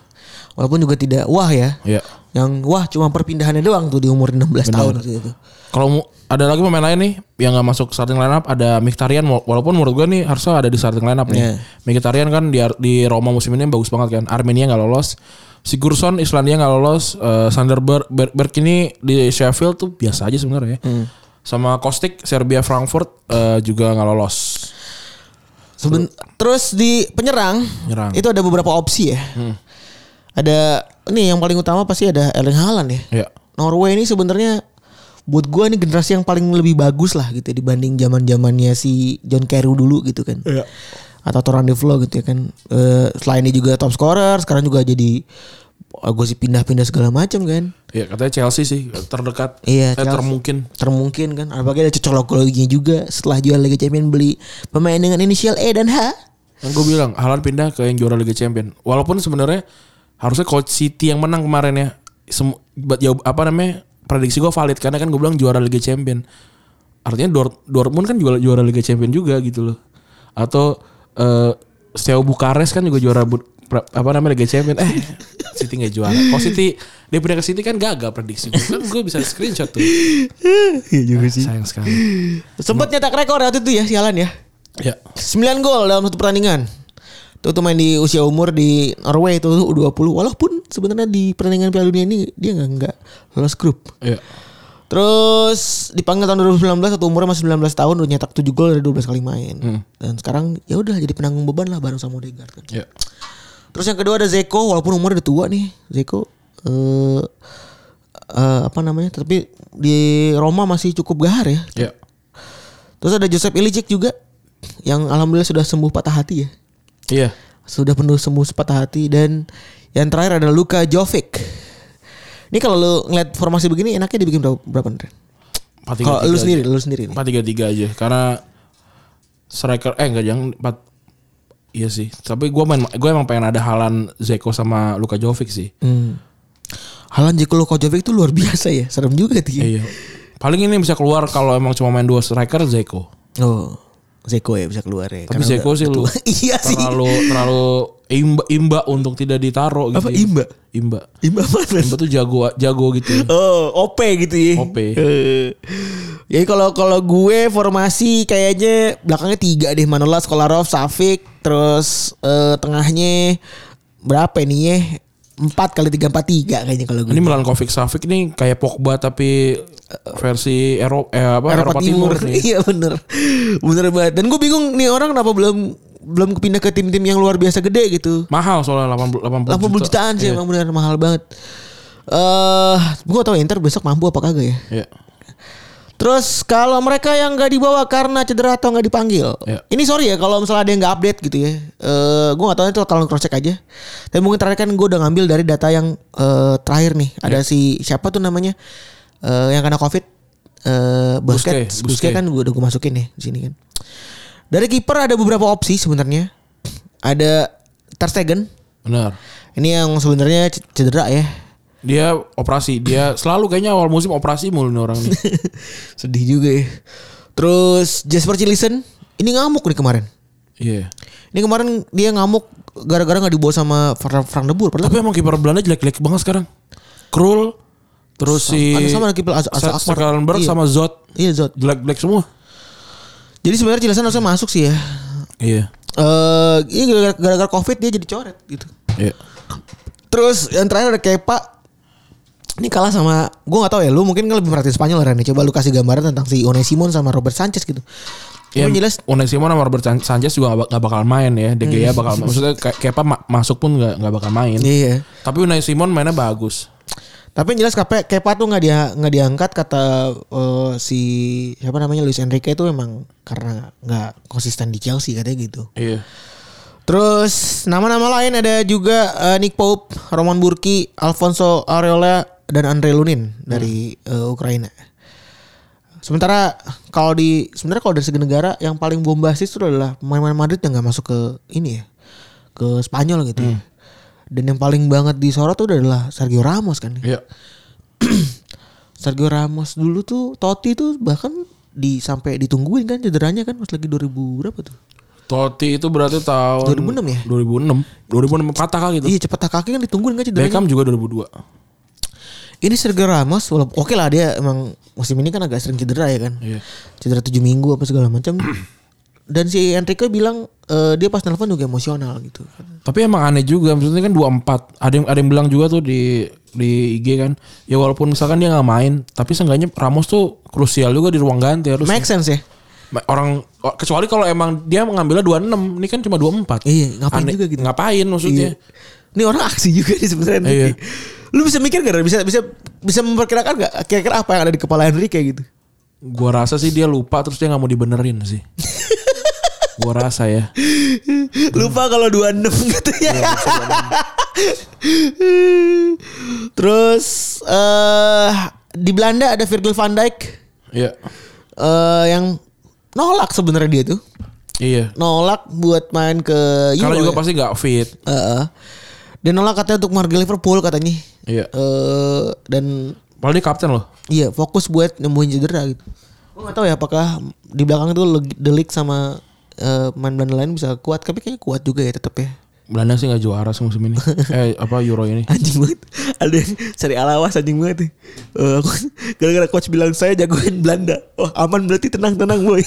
S3: Walaupun juga tidak wah ya.
S2: Iya.
S3: Yang wah cuma perpindahannya doang tuh di umur 16 tahun waktu itu.
S2: Kalau mu- ada lagi pemain lain nih yang nggak masuk starting lineup ada Mkhitaryan Wal- walaupun menurut gua nih harusnya ada di starting lineup nih.
S3: Iya.
S2: Mkhitaryan kan di Ar- di Roma musim ini bagus banget kan. Armenia nggak lolos. Sigurdsson Islandia nggak lolos. Eh, Sander Ber- Ber- Berg ini di Sheffield tuh biasa aja sebenarnya.
S3: Hmm.
S2: Sama Kostic Serbia Frankfurt eh, juga nggak lolos.
S3: Seben- terus di penyerang,
S2: Penyerang. Hmm.
S3: itu ada beberapa opsi ya. Ada nih yang paling utama pasti ada Erling Haaland ya.
S2: Iya.
S3: Norway ini sebenarnya buat gua ini generasi yang paling lebih bagus lah gitu ya, dibanding zaman zamannya si John Carew dulu gitu kan.
S2: Iya.
S3: Atau Toran de Vlo gitu ya kan. Eh, selain dia juga top scorer, sekarang juga jadi eh, gua sih pindah-pindah segala macam kan.
S2: Iya katanya Chelsea sih terdekat. Eh,
S3: Iya, Chelsea.
S2: termungkin.
S3: Termungkin kan. Apalagi ada cocok loginya juga setelah jual Liga Champions beli pemain dengan inisial E dan H.
S2: Yang gue Kan bilang Haaland pindah ke yang juara Liga Champion. Walaupun sebenarnya harusnya coach City yang menang kemarin ya. Sem buat jawab apa namanya? Prediksi gue valid karena kan gue bilang juara Liga Champion. Artinya Dort- Dortmund kan juara, juara Liga Champion juga gitu loh. Atau eh Steaua Bukares kan juga juara bu- pra- apa namanya Liga Champion. Eh City nggak juara. Kalau City dia pindah ke City kan gagal prediksi gue. Kan gue bisa screenshot tuh.
S3: Iya juga sih.
S2: Sayang sekali.
S3: Sempat nyetak rekor waktu itu ya sialan ya.
S2: Ya.
S3: 9 gol dalam satu pertandingan. Itu tuh main di usia umur di Norway itu U20 walaupun sebenarnya di pertandingan Piala Dunia ini dia nggak nggak lolos grup.
S2: Ya.
S3: Terus dipanggil tahun 2019 atau umurnya masih 19 tahun udah nyetak 7 gol dari 12 kali main. Dan sekarang ya udah jadi penanggung beban lah bareng sama Odegaard kan.
S2: Ya.
S3: Terus yang kedua ada Zeko walaupun umurnya udah tua nih. Zeko eh eh, apa namanya? Tapi di Roma masih cukup gahar ya.
S2: Ya.
S3: Terus ada Joseph Ilicic juga yang alhamdulillah sudah sembuh patah hati ya
S2: Iya.
S3: sudah penuh sembuh sepatah hati dan yang terakhir ada Luka Jovic. Ini kalau lu ngeliat formasi begini enaknya dibikin berapa, berapa Ren?
S2: Empat, tiga,
S3: Kalau
S2: tiga
S3: lu
S2: aja.
S3: sendiri, lu sendiri nih.
S2: empat tiga tiga aja karena striker eh enggak jangan empat iya sih tapi gue main gue emang pengen ada Halan Zeko sama Luka Jovic sih
S3: Hmm. Halan Jeko Luka Jovic itu luar biasa ya. Serem juga tuh. ya.
S2: iya paling ini bisa keluar kalau emang cuma main dua striker Zeko
S3: Oh. Zeko ya bisa keluar ya.
S2: tapi Zeko sih lu
S3: iya sih.
S2: terlalu terlalu imba imba untuk tidak ditaruh gitu
S3: Apa
S2: ya.
S3: imba?
S2: imba
S3: Imba banget.
S2: imba tuh jago jago gitu
S3: Oh, OP gitu ya.
S2: OP.
S3: Eh. Jadi kalau kalau gue formasi kayaknya belakangnya tiga deh Manola, Skolarov, Safik, terus eh, tengahnya berapa nih ya? Empat kali tiga empat tiga kayaknya kalau gue.
S2: ini Milankovic Savic nih kayak Pogba tapi versi Eropa eh, apa
S3: Eropa, Timur.
S2: nih.
S3: Iya bener, bener banget. Dan gue bingung nih orang kenapa belum belum kepindah ke tim-tim yang luar biasa gede gitu.
S2: mahal soalnya 80 80,
S3: 80 jutaan sih
S2: Iya.
S3: emang bener mahal banget. Eh, gue gak tau Inter besok mampu apa kagak ya?
S2: Iya.
S3: Terus kalau mereka yang nggak dibawa karena cedera atau nggak dipanggil,
S2: Iya.
S3: ini sorry ya kalau misalnya ada yang nggak update gitu ya. Eh, gue nggak tahu itu kalau cross check aja. Tapi mungkin terakhir kan gue udah ngambil dari data yang eh, terakhir nih. Ada si siapa tuh namanya Eh, yang kena covid, eh basket,
S2: Busquets,
S3: Busquets
S2: Busquets.
S3: kan gue udah gue masukin nih di sini kan. Dari kiper ada beberapa opsi sebenarnya. Ada Ter Stegen.
S2: benar
S3: Ini yang sebenarnya c- cedera ya.
S2: Dia operasi, dia selalu kayaknya awal musim operasi mulu nih orang nih.
S3: Sedih juga ya. Terus Jasper Cilisen ini ngamuk nih kemarin.
S2: Iya.
S3: Ini kemarin dia ngamuk gara-gara nggak dibawa sama Frank, Frank de Boer. Padahal
S2: Tapi emang kiper Belanda jelek-jelek banget sekarang. Krul, terus si
S3: ada sama ada kiper Az- Az-
S2: Sa-
S3: Akmar.
S2: Schakenberg
S3: Iya.
S2: sama Zot
S3: iya Zot.
S2: jelek-jelek semua.
S3: Jadi sebenarnya Cilesan harusnya masuk sih ya.
S2: Iya.
S3: Eh, ini gara-gara- gara-gara Covid dia jadi coret gitu.
S2: Iya.
S3: Terus yang terakhir ada Kepa. Ini kalah sama gue nggak tahu ya. Lu mungkin kan lebih merhatiin Spanyol Ren. Coba lu kasih gambaran tentang si Onesimon sama Robert Sanchez gitu.
S2: Ya,
S3: Emang jelas.
S2: Onesimo sama Robert San- Sanchez juga gak, bakalan main ya. De Gea bakal maksudnya Ke- Kepa ma- masuk pun gak, gak bakal main.
S3: Iya.
S2: Tapi Unai Simon mainnya bagus.
S3: Tapi yang jelas Kepa, Kepa tuh nggak dia nggak diangkat kata eh, si siapa namanya Luis Enrique itu emang karena nggak konsisten di Chelsea katanya gitu.
S2: Iya.
S3: Terus nama-nama lain ada juga eh, Nick Pope, Roman Burki, Alfonso Areola dan Andre Lunin dari eh, Ukraina. Sementara kalau di sebenarnya kalau dari segi negara yang paling bombastis itu adalah pemain-pemain Madrid yang nggak masuk ke ini ya ke Spanyol gitu. ya. Dan yang paling banget disorot tuh adalah Sergio Ramos kan.
S2: Iya.
S3: Sergio Ramos dulu tuh Totti tuh bahkan di sampai ditungguin kan cederanya kan pas lagi 2000 berapa tuh?
S2: Totti itu berarti tahun
S3: 2006 ya?
S2: 2006. 2006 patah kali gitu.
S3: Iya cepet tak kaki kan ditungguin kan cederanya.
S2: Beckham juga 2002.
S3: Ini Sergio Ramos walaupun oke lah dia emang musim ini kan agak sering cedera ya kan.
S2: Iya.
S3: Cedera 7 minggu apa segala macam. Dan si Enrique bilang eh, dia pas nelpon juga emosional gitu.
S2: Tapi emang aneh juga maksudnya kan 24. Ada yang ada yang bilang juga tuh di di IG kan. Ya walaupun misalkan dia nggak main, tapi seenggaknya Ramos tuh krusial juga di ruang ganti harus.
S3: Make sense ya?
S2: Ma- orang o- kecuali kalau emang dia mengambilnya 26, ini kan cuma 24.
S3: Iya, ngapain
S2: Aneh-
S3: juga gitu.
S2: Ngapain maksudnya?
S3: Ini orang aksi juga nih sebenarnya. Enrique.
S2: Iya.
S3: Lu bisa mikir gak? Bisa bisa bisa memperkirakan gak kira-kira apa yang ada di kepala Enrique gitu?
S2: Gua rasa sih dia lupa terus dia nggak mau dibenerin sih. Gua rasa ya.
S3: Lupa kalau 26 gitu
S2: Iya,
S3: ya. Terus eh di Belanda ada Virgil van Dijk
S2: Iya.
S3: eh yang nolak sebenarnya dia tuh.
S2: Iya.
S3: Nolak buat main ke
S2: Karena
S3: Euro
S2: juga
S3: ya.
S2: pasti nggak fit.
S3: Heeh. dia nolak katanya untuk marga Liverpool katanya.
S2: Iya.
S3: Eh, dan
S2: Padahal dia kapten loh.
S3: iya fokus buat nyembuhin cedera gitu. Gue gak tahu ya apakah di belakang itu Le- Delik sama eh, main Belanda lain bisa kuat, tapi kayaknya kuat juga ya tetap ya.
S2: Belanda sih nggak juara sih musim ini. eh apa Euro ini?
S3: anjing banget ada yang cari alawas anjing banget nih Eh, aku gara-gara coach bilang saya jagoin Belanda wah aman berarti tenang tenang boy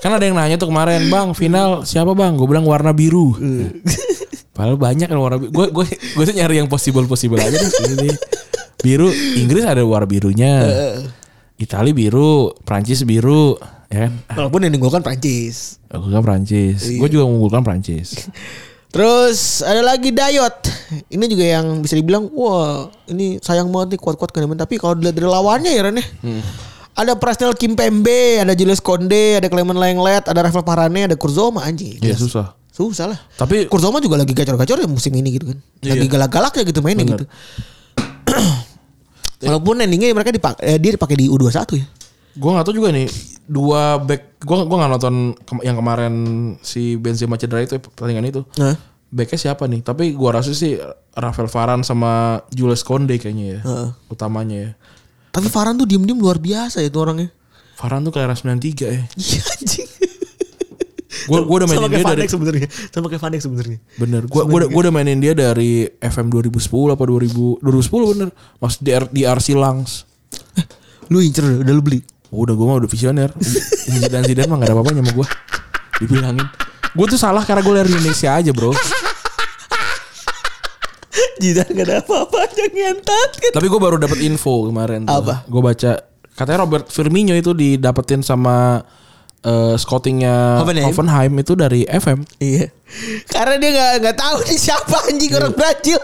S2: Kan ada yang nanya tuh kemarin, Bang, final siapa Bang? Gue bilang warna biru. Padahal banyak kan warna biru. Gue gue gue sih nyari yang possible possible aja deh. Ini. Biru, Inggris ada warna birunya. Itali biru, Prancis biru, ya kan?
S3: walaupun yang diunggulkan Prancis
S2: Aku kan Prancis. Gue juga mengunggulkan Prancis.
S3: terus ada lagi Dayot ini juga yang bisa dibilang wah ini sayang banget nih kuat-kuat kan tapi kalau dilihat dari lawannya ya Ren ya. ada Presnel Kimpembe ada Julius Konde ada Clement Lenglet ada Rafael Varane ada Kurzoma anjing
S2: Ya susah.
S3: Iya, susah lah
S2: Tapi
S3: Kurzoma juga lagi gacor-gacor ya musim ini gitu kan. Lagi galak-galaknya gitu mainnya gitu. Walaupun endingnya mereka dipak eh, dia dipakai di U21 ya.
S2: Gue gak tau juga nih dua back gue gua nggak nonton kem- yang kemarin si Benzema cedera itu pertandingan itu.
S3: Nah.
S2: Backnya siapa nih? Tapi gua rasa sih Rafael Varane sama Jules Konde kayaknya ya. Utamanya ya.
S3: Tapi Farhan tuh diem-diem luar biasa ya itu orangnya.
S2: Varane tuh kelahiran 93 ya.
S3: Iya anjing.
S2: Gua gua udah
S3: Sama
S2: mainin
S3: kayak
S2: dia
S3: Van
S2: dari
S3: Dijk sebenarnya. Sama kayak Van Dijk sebenarnya.
S2: bener. Gua gua, udah- gua udah mainin dia dari FM 2010 apa 2000 2010 bener. Mas di, R- di RC Langs.
S3: Lu incer udah, udah lu beli.
S2: Udah gue mah udah visioner. Zidane Zidane mah gak ada apa-apanya sama gue. Dibilangin. Gue tuh salah karena gue dari Indonesia aja bro.
S3: Jidan gak ada apa-apanya ngentot. gitu.
S2: Tapi gue baru dapat info kemarin. tuh.
S3: Apa?
S2: Gue baca katanya Robert Firmino itu didapetin sama eh, scoutingnya
S3: Hoffenheim.
S2: Hoffenheim itu dari FM.
S3: Iya. Karena dia gak, nggak tahu nih siapa anjing orang Brazil.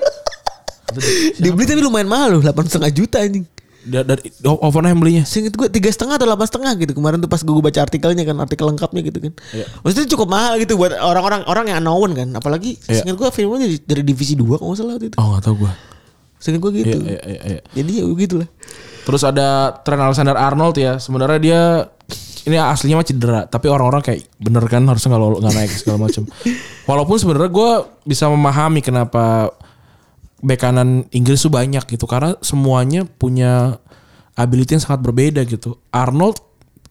S3: Dibeli tapi lumayan mahal loh, 8,5 juta anjing.
S2: Da- Dari Ho- Hoffenheim belinya.
S3: Seinget gue tiga setengah atau delapan setengah gitu kemarin tuh pas gue baca artikelnya kan artikel lengkapnya gitu kan.
S2: Iya.
S3: Maksudnya cukup mahal gitu buat orang-orang orang yang unknown kan. Apalagi
S2: Iya.
S3: seinget gue filmnya dari, dari divisi 2 kalau nggak salah waktu itu.
S2: Oh nggak tahu gue.
S3: Seinget gue gitu.
S2: Iya, iya, iya, iya.
S3: Jadi ya gitu lah.
S2: Terus ada Trent Alexander Arnold ya. Sebenarnya dia ini aslinya mah cedera, tapi orang-orang kayak bener kan harusnya nggak lol- nggak naik segala macam. Walaupun sebenarnya gue bisa memahami kenapa bek kanan Inggris tuh banyak gitu karena semuanya punya ability yang sangat berbeda gitu. Arnold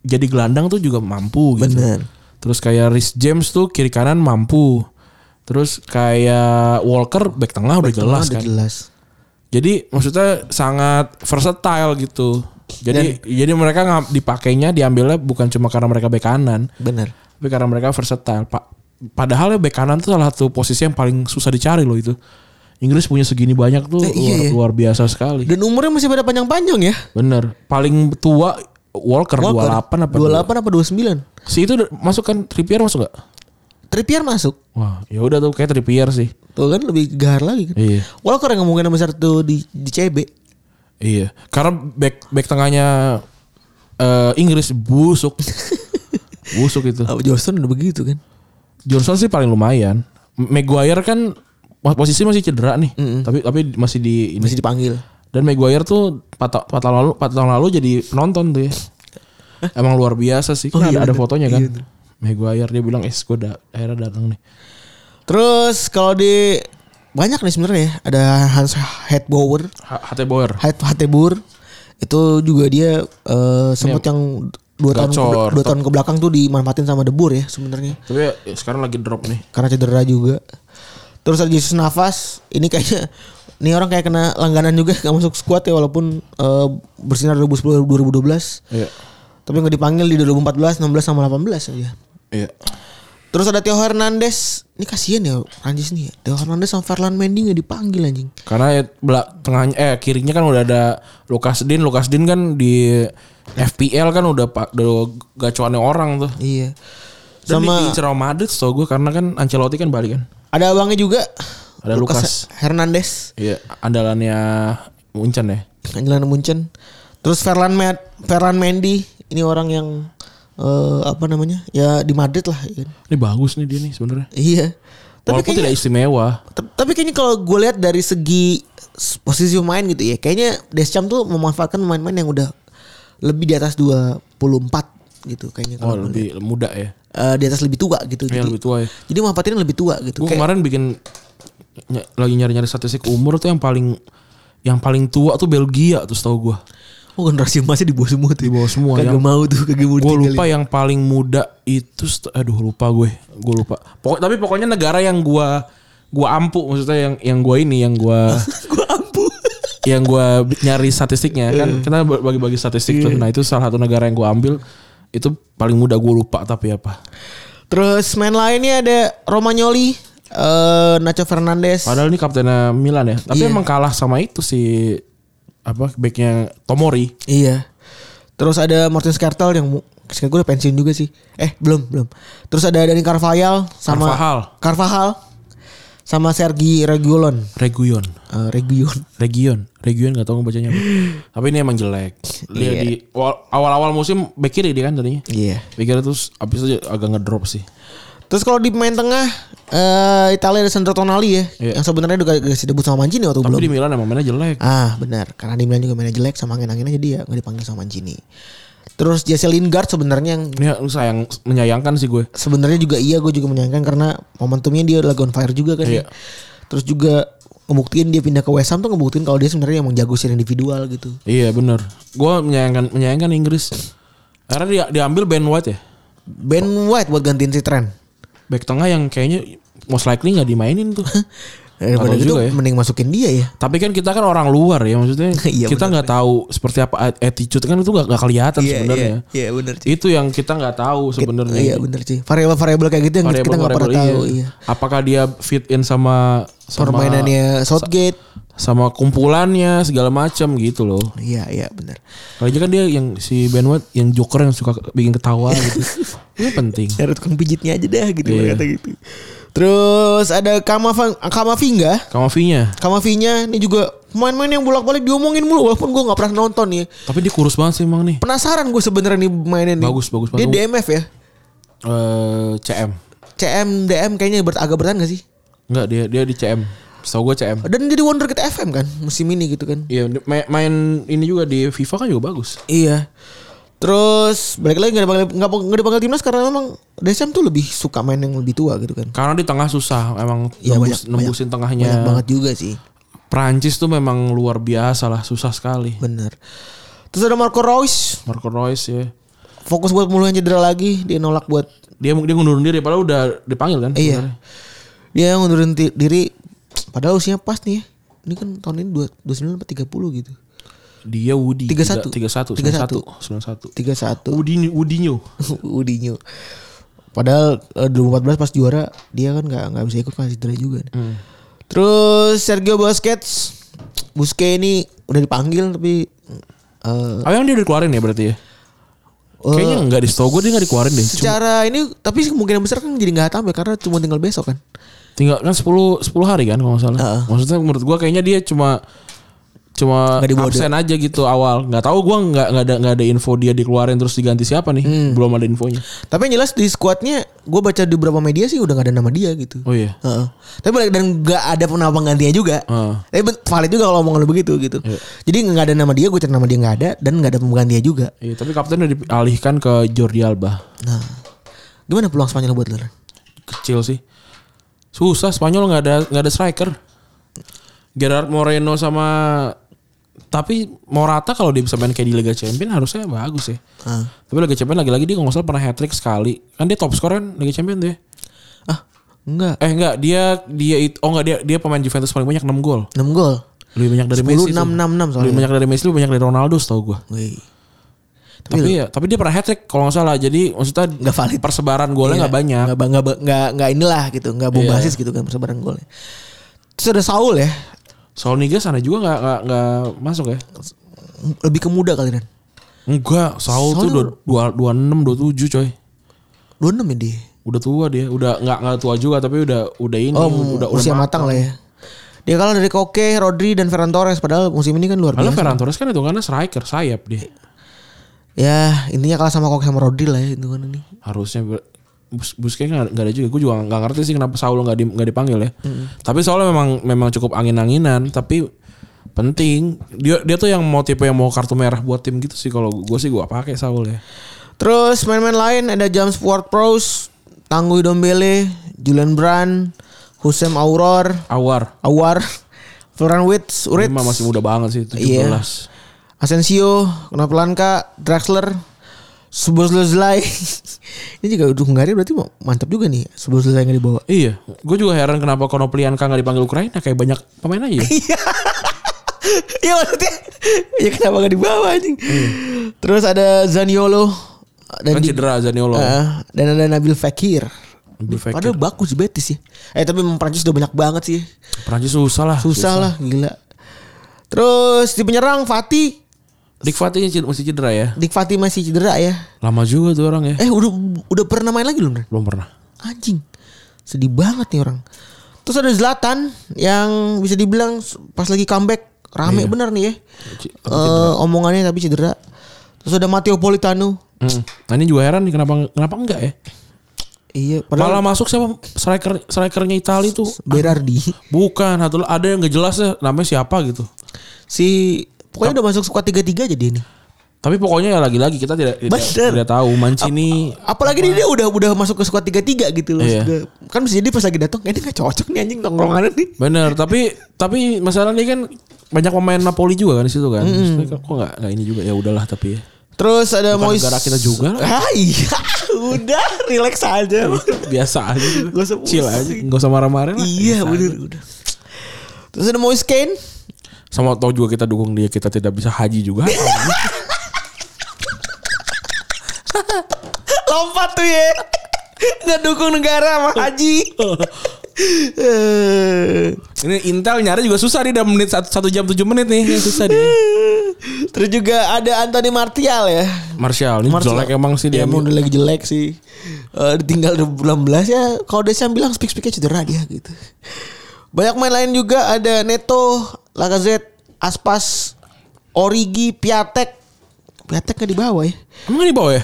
S2: jadi gelandang tuh juga mampu gitu.
S3: Bener.
S2: Terus kayak Rhys James tuh kiri kanan mampu. Terus kayak Walker back tengah udah jelas
S3: Udah
S2: kan.
S3: jelas.
S2: Jadi maksudnya sangat versatile gitu. Jadi jadi mereka nggak dipakainya diambilnya bukan cuma karena mereka bek kanan,
S3: Bener.
S2: tapi karena mereka versatile. Pa- padahal ya bek kanan tuh salah satu posisi yang paling susah dicari loh itu. Inggris punya segini banyak tuh
S3: Eh, iya
S2: luar,
S3: ya.
S2: luar biasa sekali.
S3: Dan umurnya masih pada panjang-panjang ya.
S2: Bener. Paling tua Walker,
S3: Walker.
S2: 28 apa
S3: 28 apa 29?
S2: Si itu udah- masuk kan Trippier masuk gak?
S3: Trippier masuk.
S2: Wah, ya udah tuh kayak Trippier sih.
S3: Tuh kan lebih gahar lagi kan.
S2: Iya.
S3: Walker yang kemungkinan besar tuh di, di CB.
S2: Iya, karena back back tengahnya eh, Inggris busuk. busuk itu.
S3: Oh, Johnston udah begitu kan.
S2: Johnson sih paling lumayan. M- Maguire kan pos- posisi masih cedera nih, tapi tapi masih di ini.
S3: Masih dipanggil.
S2: Dan Maguire tuh 4, tahun lalu 4 tahun lalu jadi penonton tuh ya. Emang luar biasa sih. Kan ada, ada fotonya kan. Maguire dia bilang, "Eh, gue da- akhirnya datang nih."
S3: Terus kalau di banyak nih sebenarnya ya. ada Hans Hedbauer,
S2: H- HT Boer.
S3: Het Hatebur itu juga dia eh, sempat yang dua tahun ke,
S2: Iya. gacor.
S3: dua tahun ke belakang tuh dimanfaatin sama Debur ya sebenarnya
S2: Tapi ya, sekarang lagi drop nih.
S3: karena cedera juga. Terus ada Jesus Nafas, ini kayaknya ini orang kayak kena langganan juga nggak masuk squad ya walaupun eh, bersinar 2010 2012.
S2: Iya.
S3: Tapi nggak dipanggil di 2014, 16 sama 18 aja.
S2: Iya.
S3: Terus ada Theo Hernandez. Ini kasihan ya Prancis nih. ya. Theo Hernandez sama Ferland Mendy nggak dipanggil anjing.
S2: Karena ya belak tengahnya eh kirinya kan udah ada Lukas Din, Lukas Din kan di FPL kan udah pak udah gacuannya orang tuh.
S3: Iya.
S2: Dan
S3: Sama-
S2: diincer sama Madrid tau gue karena kan Ancelotti kan balik kan.
S3: Ada abangnya juga.
S2: Ada Lucas.
S3: Hernandez.
S2: Iya, andalannya Munchen ya.
S3: Angelan Munchen. Terus Ferland Med Ferland Mendy. Ini orang yang eh, apa namanya? Ya di Madrid lah. ya kan.
S2: Ini bagus nih dia nih sebenarnya.
S3: Iya. Tapi
S2: Walaupun
S3: kayaknya,
S2: tidak istimewa.
S3: tap- tapi kayaknya kalau gue lihat dari segi s- posisi pemain gitu ya, kayaknya Deschamps tuh memanfaatkan pemain-pemain yang udah lebih di atas 24 gitu kayaknya
S2: Oh,
S3: kalau gua
S2: lebih muda ya.
S3: eh, di atas lebih tua gitu.
S2: Iya,
S3: jadi,
S2: lebih tua ya.
S3: jadi manfaatin yang lebih tua gitu.
S2: Gue
S3: Kayak-
S2: kemarin bikin ny- lagi nyari-nyari statistik umur tuh yang paling yang paling tua tuh Belgia tuh setahu gue.
S3: oh generasi emasnya di bawah semua tuh.
S2: Di bawah semua,
S3: Kagak
S2: yang-
S3: mau tuh,
S2: Gue
S3: kagak mau
S2: lupa ya.
S3: ditinggalin.
S2: yang paling muda itu st- aduh lupa gue. Gue lupa. Pokok, tapi pokoknya negara yang gua gua ampu maksudnya yang yang gua ini yang gua
S3: Gua ampuh.
S2: yang gua bi- nyari statistiknya
S3: Iya.
S2: kan kita ba- bagi-bagi statistik tuh. Nah, itu salah satu negara yang gua ambil itu paling muda gue lupa tapi apa.
S3: Terus main lainnya ada Romagnoli, eh, Nacho Fernandez.
S2: Padahal ini kaptennya Milan ya.
S3: Iya.
S2: Tapi emang kalah sama itu si apa backnya Tomori.
S3: Iya. Terus ada Martin Skertel yang mu- sekarang gue udah pensiun juga sih. Eh belum belum. Terus ada Dani Carvajal sama
S2: Carvajal.
S3: Carvajal sama Sergi Reguilon.
S2: Region.
S3: Eh, Reguilon.
S2: Region. Region gak tau ngebacanya apa. Tapi ini emang jelek. Dia
S3: Iya.
S2: di awal- awal-awal musim back kiri dia kan tadinya.
S3: Iya.
S2: Back kiri terus abis itu agak ngedrop sih.
S3: Terus kalau di pemain tengah eh Italia ada Sandro Tonali ya,
S2: Iya.
S3: yang sebenarnya udah kasih debut sama Mancini waktu
S2: Tapi
S3: belum.
S2: di Milan emang mainnya jelek.
S3: Ah benar, karena di Milan juga mainnya jelek sama angin-anginnya jadi ya nggak dipanggil sama Mancini. Terus Jesse Lingard sebenarnya yang
S2: Ini sayang menyayangkan sih gue.
S3: sebenarnya juga iya gue juga menyayangkan karena momentumnya dia lagi on fire juga kan.
S2: Iya.
S3: Terus juga ngebuktiin dia pindah ke West Ham tuh ngebuktiin kalau dia sebenarnya emang jago secara individual gitu.
S2: Iya bener. Gue menyayangkan menyayangkan Inggris. Karena dia diambil Ben White ya.
S3: Ben White buat gantiin si Trent.
S2: Back tengah yang kayaknya most likely nggak dimainin tuh. Nggak
S3: Daripada
S2: tahu
S3: gitu
S2: juga ya.
S3: mending masukin dia ya.
S2: Tapi kan kita kan orang luar ya maksudnya
S3: Iya,
S2: kita nggak tahu seperti apa attitude kan itu nggak nggak kelihatan sebenarnya.
S3: Iya benar sih.
S2: Itu yang kita nggak tahu sebenarnya.
S3: Iya benar sih. Variabel-variabel kayak gitu yang
S2: Variable-
S3: kita nggak pernah
S2: variable,
S3: tahu. Iya.
S2: Apakah dia fit in sama sama
S3: Permainannya Southgate.
S2: sama kumpulannya segala macam gitu loh.
S3: Iya iya benar.
S2: Kalau aja kan dia yang si Ben White yang joker yang suka bikin ketawa gitu. Itu penting.
S3: Cari tukang pijitnya aja dah gitu
S2: Iya.
S3: berkata gitu. Terus ada Kamava- Kamavinga.
S2: Kamavinya.
S3: Kamavinya ini juga pemain-pemain yang bolak-balik diomongin mulu walaupun gue nggak pernah nonton ya.
S2: Tapi dia kurus banget sih emang nih.
S3: Penasaran gue sebenarnya nih mainnya nih.
S2: Bagus, bagus,
S3: Dia
S2: bagus.
S3: DMF ya.
S2: Eh, CM.
S3: CM DM kayaknya ber- agak bertahan gak sih?
S2: Enggak dia dia di CM. Setahu gue CM.
S3: Dan jadi wonderkid FM kan musim ini gitu kan.
S2: Iya, di- main, main ini juga di FIFA kan juga bagus.
S3: Iya. Terus balik lagi gak dipanggil, gak, gak dipanggil timnas karena memang Desam tuh lebih suka main yang lebih tua gitu kan.
S2: Karena di tengah susah, emang
S3: Iya,
S2: nembus-
S3: banyak-
S2: nembusin tengahnya.
S3: Banyak banget juga sih.
S2: Prancis tuh memang luar biasa lah, susah sekali.
S3: Bener. Terus ada Marco Reus.
S2: Marco Reus ya.
S3: Fokus buat pemulihan cedera lagi. Dia nolak buat.
S2: Dia dia ngundurin diri padahal udah dipanggil kan.
S3: Eh, iya.
S2: sebenarnya.
S3: Dia ngundurin ti- diri. Padahal usianya pas nih ya. Ini kan tahun ini dua- 29 apa 30 gitu.
S2: Dia Woody
S3: 31.
S2: 31
S3: 31.
S2: 91.
S3: 31.
S2: Udinyo Udinyo.
S3: Udinyo. Padahal eh, 2014 pas juara dia kan nggak nggak bisa ikut karena cedera juga.
S2: Hmm.
S3: Terus Sergio Busquets, Busquets ini udah dipanggil tapi eh
S2: Apa yang dia udah keluarin ya berarti ya? Kayaknya enggak di setahu gue dia enggak dikeluarin deh. Cuma
S3: Secara ini tapi kemungkinan besar kan jadi nggak tampil karena cuma tinggal besok kan.
S2: tinggal kan 10 10 hari kan kalau nggak salah.
S3: Heeh.
S2: Maksudnya menurut gue kayaknya dia cuma cuma
S3: Nggak dibawa
S2: absen aja gitu awal. Nggak tahu gue nggak nggak ada nggak ada info dia dikeluarin terus diganti siapa nih.
S3: Hmm.
S2: Belum ada infonya.
S3: Tapi yang jelas di squadnya gue baca di beberapa media sih udah gak ada nama dia gitu.
S2: Oh iya.
S3: Heeh. Tapi balik- dan gak ada nama penggantinya juga.
S2: Heeh. Iya.
S3: Tapi ben- valid juga kalau omongan lu begitu gitu. Jadi gak ada nama dia, gue cari nama dia gak ada dan gak ada penggantinya juga.
S2: Iya, tapi kapten udah dialihkan ke Jordi Alba.
S3: Nah, gimana peluang Spanyol buat lu? Ren?
S2: Kecil sih. Susah Spanyol nggak ada nggak ada striker. Gerard Moreno sama tapi Morata kalau dia bisa main kayak di Liga Champions harusnya bagus ya.
S3: Heeh.
S2: Tapi Liga Champions lagi-lagi dia kalau nggak salah pernah hat trick sekali. Kan dia top scorer kan Liga Champions tuh ya.
S3: Ah, enggak.
S2: Eh enggak, dia dia it- oh enggak dia dia pemain Juventus paling banyak 6 gol.
S3: 6 gol.
S2: Lebih banyak dari
S3: 10,
S2: Messi. tuh.
S3: 6, 6, 6 soalnya.
S2: Lebih banyak dari Messi, lebih banyak dari Ronaldo setahu gua.
S3: Wih.
S2: Tapi, ya, tapi dia pernah hat trick kalau nggak salah. Jadi maksudnya
S3: Gitu. Nggak valid.
S2: persebaran golnya nggak banyak. Iya.
S3: iya, Nggak nggak nggak nggak inilah gitu, nggak bombastis gitu kan persebaran golnya. Terus ada Saul ya,
S2: Soal Niga sana juga nggak nggak nggak masuk ya.
S3: lebih ke muda kali Ren.
S2: Enggak, Saul tuh
S3: Saul-
S2: dua, dua, 26 27 coy.
S3: 26 ya dia.
S2: Udah tua dia, udah nggak nggak tua juga tapi udah udah ini
S3: Oh,
S2: udah
S3: usia
S2: udah
S3: matang lah ya. Dia kalah dari Koke, Rodri dan Ferran Torres padahal musim ini kan luar
S2: Kalau
S3: biasa.
S2: Ferran Torres kan itu karena striker sayap dia.
S3: Ya, intinya kalah sama Koke sama Rodri lah ya itu kan ini.
S2: harusnya ber- Bus- Busquets nggak nggak ada juga gue juga nggak ngerti sih kenapa Saul nggak di- nggak dipanggil ya tapi Saul memang memang cukup angin-anginan tapi penting dia dia tuh yang mau tipe yang mau kartu merah buat tim gitu sih kalau gue sih gue pakai Saul ya
S3: Terus main-main lain ada James Ward-Prowse, Tanguy Dombele, Julian Brand, Hussein Auror,
S2: Awar
S3: Awar, Florian Wirtz, Uritz,
S2: lima masih muda banget sih 17
S3: Iya. Asensio, Knopelanka, Draxler, Subozlozlai. Ini juga udah Hungaria berarti mau- mantap juga nih. Subozlozlai nggak dibawa.
S2: iya gue juga heran kenapa Konoplianka nggak dipanggil Ukraina kayak banyak pemain aja ya.
S3: Iya maksudnya ya kenapa gak dibawa anjing. Terus ada Zaniolo
S2: Hmm.
S3: dan
S2: kan
S3: di-
S2: cedera Zaniolo
S3: Eh, dan ada Nabil Fekir.
S2: Nabil Fekir.
S3: Padahal bagus di Betis sih. Eh tapi memang Prancis udah banyak banget sih.
S2: Perancis susah lah
S3: Susah, lah gila. Terus di penyerang Fatih,
S2: Dik Fatih ced- masih cedera ya
S3: Dik Fatih masih cedera ya.
S2: lama juga tuh orang ya
S3: Eh udah udah pernah main lagi belum? Ren?
S2: belum pernah
S3: Anjing. Sedih banget nih orang. Terus ada Zlatan yang bisa dibilang pas lagi comeback rame bener nih ya.
S2: C-
S3: Eh, omongannya tapi cedera. Terus ada Matteo Politano.
S2: Mm. Nah ini juga heran nih kenapa kenapa enggak ya?
S3: Iya,
S2: Malah
S3: padahal
S2: masuk siapa striker strikernya Italia tuh
S3: Berardi.
S2: bukan atau ada yang nggak jelas ya namanya siapa gitu.
S3: Si pokoknya udah masuk squad 3-3 aja dia nih.
S2: Tapi pokoknya ya lagi-lagi kita tidak tidak,
S3: Bener.
S2: tidak tahu Mancini
S3: Apalagi dia udah udah masuk ke squad 3-3 gitu loh.
S2: Iya.
S3: Sudah- Kan bisa jadi pas lagi datang ini gak cocok nih anjing tongkrongan nih.
S2: bener tapi tapi masalahnya kan banyak pemain Napoli juga kan di situ kan. Maksudnya Kok nggak nggak ini juga ya udahlah tapi ya.
S3: Terus ada
S2: Bukan
S3: Mois
S2: negara kita juga Iya, lah.
S3: Ah, iya, udah relax aja.
S2: biasa aja gitu.
S3: Gak usah
S2: Chill aja,
S3: pusing.
S2: nggak usah marah-marah lah.
S3: iya, bener udah. Terus ada Moise Kane
S2: Sama tau juga kita dukung dia kita tidak bisa haji juga.
S3: lompat tuh ya. Ngedukung negara
S2: Oh.
S3: sama haji. Eh,
S2: ini Intel nyari juga susah nih udah menit satu, satu jam 7 menit nih susah dia.
S3: Terus juga ada Anthony Martial ya.
S2: Martial ini
S3: Martial.
S2: jelek emang sih dia.
S3: Iya, emang udah lagi jelek sih. Eh, ditinggal 18 ya. Kalau Desyam bilang speak speaknya cedera dia gitu. Banyak main lain juga ada Neto, Lacazette, Aspas, Origi, Piatek. Piatek nggak di bawah ya.
S2: Emang nggak di bawah ya?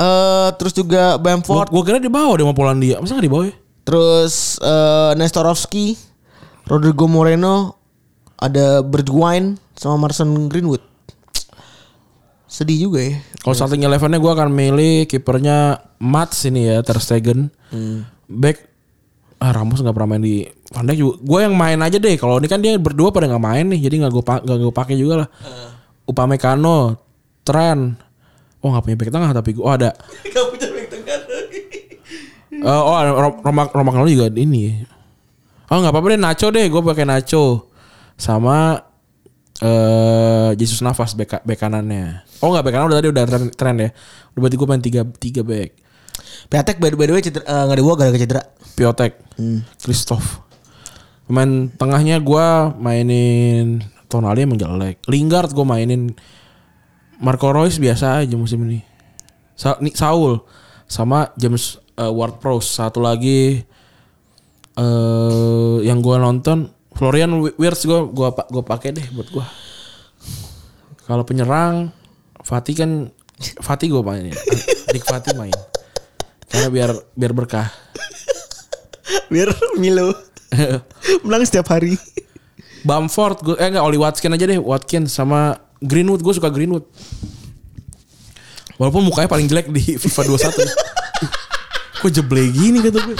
S3: Eh, terus juga
S2: Gua,
S3: Bamford,
S2: gua kira di bawah dia sama Polandia. Masa nggak di bawah ya?
S3: terus eh, Nestorovski, Rodrigo Moreno, ada Bergwijn sama Mason Greenwood. Sedih juga ya.
S2: Kalau starting elevennya gue akan milih kipernya Mats ini ya Ter Stegen. Back ah Ramos nggak pernah main di Van Dijk juga. Gue yang main aja deh. Kalau ini kan dia berdua pada nggak main nih, jadi nggak gue nggak gue pakai juga lah. Upamecano, Tren. Oh nggak punya back tengah tapi gue oh, ada. Eh, oh ada Ro- Roma Roma Kano juga ini. Oh nggak apa-apa deh Nacho deh. Gue pakai Nacho sama eh Jesus Navas back, back kanannya. Oh nggak back kanan udah tadi udah tren, tren ya. Udah berarti gue main tiga tiga back.
S3: Piatek by the by the way cedera eh, nggak di bawah gara-gara cedera.
S2: Piotek, Kristoff. Pemain tengahnya gua mainin Tonali emang jelek. Lingard gue mainin. Marco Reus biasa aja musim ini. Sa- Ni- Saul sama James eh, Ward Prowse. Satu lagi eh yang gua nonton Florian Wi- Wirtz gua gua pa- gua pakai deh buat gua. Kalau penyerang Fatih kan Fatih gua mainin. Dik Fatih main. Karena biar biar berkah.
S3: Biar Milo menang setiap hari.
S2: Bamford gue eh enggak Oli Watkins aja deh Watkins sama Greenwood gue suka Greenwood walaupun mukanya paling jelek di FIFA 21 kok jeble gini kata gue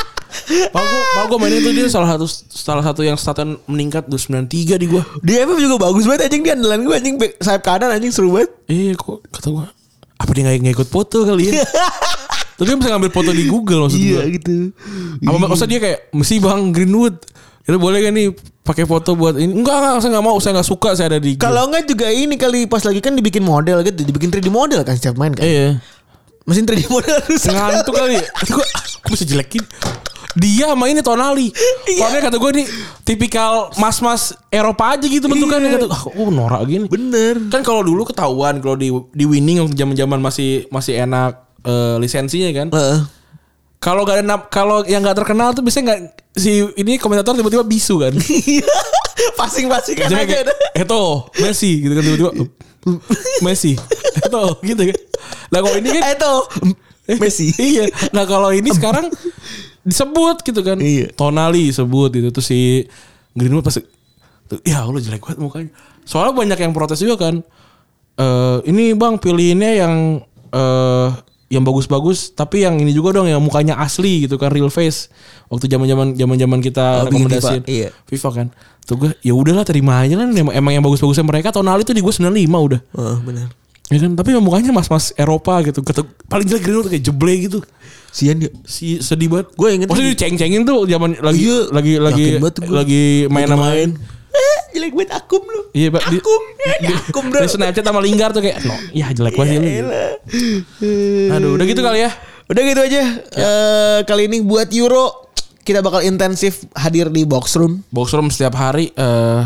S2: Pak gue, Pak gue mainin tuh dia salah satu salah satu yang status meningkat 293 di gue.
S3: Di FM juga bagus banget anjing dia andalan gue anjing back- sayap kanan anjing seru banget.
S2: Eh kok kata gue apa dia nggak nggak ikut foto kali ya? Tapi dia bisa ngambil foto di Google maksud gue.
S3: gitu.
S2: Apa maksudnya dia kayak mesti bang Greenwood. Ya boleh gak nih pakai foto buat ini? Enggak enggak saya nggak mau saya nggak suka saya ada di. Google.
S3: Kalau enggak juga ini kali pas lagi kan dibikin model gitu, dibikin 3D model kan setiap main kan.
S2: iya.
S3: Mesin 3D model rusak.
S2: ngantuk kali ya. Gua- Aku bisa jelekin dia sama ini Tonali.
S3: Iya.
S2: Soalnya kata gue nih tipikal mas-mas Eropa aja gitu bentukannya kata ah oh, norak gini.
S3: Iya. Bener.
S2: Kan kalau dulu ketahuan kalau di di winning waktu zaman-zaman masih masih enak eh, lisensinya kan.
S3: Heeh.
S2: Kalau gak ada nam- kalau yang nggak terkenal tuh biasanya nggak si ini komentator tiba-tiba bisu kan.
S3: Iya. Pasing-pasingan
S2: Jadi
S3: aja
S2: kayak
S3: udah.
S2: Eto, Messi gitu kan tiba-tiba Messi, Eto gitu kan. Lah kalau ini kan
S3: Eh tuh Messi.
S2: iya. Nah kalau ini sekarang disebut gitu kan.
S3: Iya.
S2: Tonali disebut gitu terus si Greenwood pasti tuh, ya Allah jelek banget mukanya. Soalnya banyak yang protes juga kan. Eh ini Bang pilihinnya yang eh yang bagus-bagus tapi yang ini juga dong yang mukanya asli gitu kan real face waktu zaman-zaman zaman-zaman kita
S3: Oh, bikin
S2: rekomendasi
S3: FIFA, iya.
S2: FIFA kan tuh gue ya udahlah terima aja lah emang, emang yang bagus-bagusnya mereka Tonali tuh di gue 95 udah
S3: Heeh, bener.
S2: ya kan tapi mukanya mas-mas Eropa gitu Kata, paling jelek Greenwood kayak jeble gitu
S3: Sian dia.
S2: si sedih banget.
S3: Gue inget
S2: Maksudnya diceng-cengin tuh zaman lagi
S3: Iya.
S2: lagi lagi
S3: Yakin banget gua. Gitu
S2: lagi main sama
S3: main. Eh, jelek banget akum lu.
S2: Iya, Pak. Di-
S3: Akum. Eh, di akum bro.
S2: Di Snapchat sama Linggar tuh kayak no, ya jelek banget ini.
S3: Iya, Elah. Eh,
S2: Aduh, udah gitu kali ya.
S3: Udah gitu aja. Eh, kali ini buat Euro kita bakal intensif hadir di box room.
S2: Box room setiap hari eh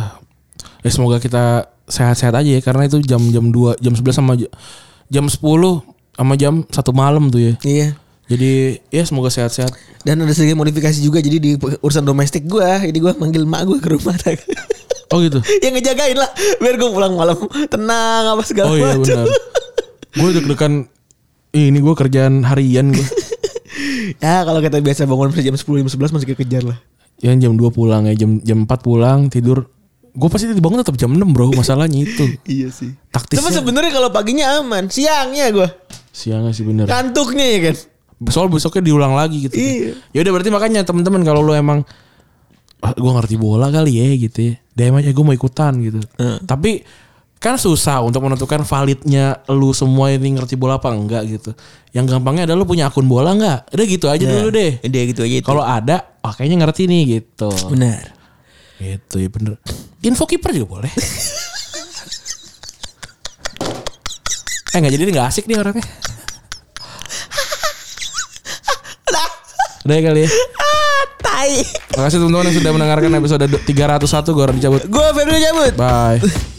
S2: ya semoga kita sehat-sehat aja ya karena itu jam-jam 2, jam 11 sama j- jam 10 sama jam 1 malam tuh ya.
S3: Iya.
S2: Jadi ya semoga sehat-sehat.
S3: Dan ada sedikit modifikasi juga jadi di urusan domestik gua, jadi gua manggil mak gua ke rumah
S2: Oh gitu.
S3: yang ngejagain lah biar gua pulang malam tenang apa segala
S2: Oh iya
S3: macam.
S2: benar. Gue deg-degan Ih, ini gue kerjaan harian gue.
S3: Ya kalau kita biasa bangun jam 10 jam 11 masih kekejar lah.
S2: Ya jam 2 pulang ya jam jam 4 pulang tidur gue pasti dibangun tetap jam 6 bro masalahnya itu
S3: Iya sih.
S2: taktisnya
S3: Tapi sebenarnya kalau paginya aman, siangnya gua
S2: siangnya sih bener
S3: kantuknya ya kan.
S2: soal besoknya diulang lagi gitu
S3: Iya.
S2: ya udah berarti makanya teman-teman kalau lu emang ah, gue ngerti bola kali ya gitu ya DM aja gue mau ikutan gitu tapi kan susah untuk menentukan validnya lu semua ini ngerti bola apa enggak gitu yang gampangnya adalah lu punya akun bola enggak udah gitu aja dulu deh
S3: Dia gitu aja.
S2: kalau ada oh, kayaknya ngerti nih gitu
S3: benar.
S2: Gitu ya bener. Info kiper juga boleh. eh nggak jadi nggak asik nih orangnya. Udah ya kali ya.
S3: Tai.
S2: Makasih teman-teman yang sudah mendengarkan episode 301 gue Randy cabut.
S3: Gua Febri cabut.
S2: Bye.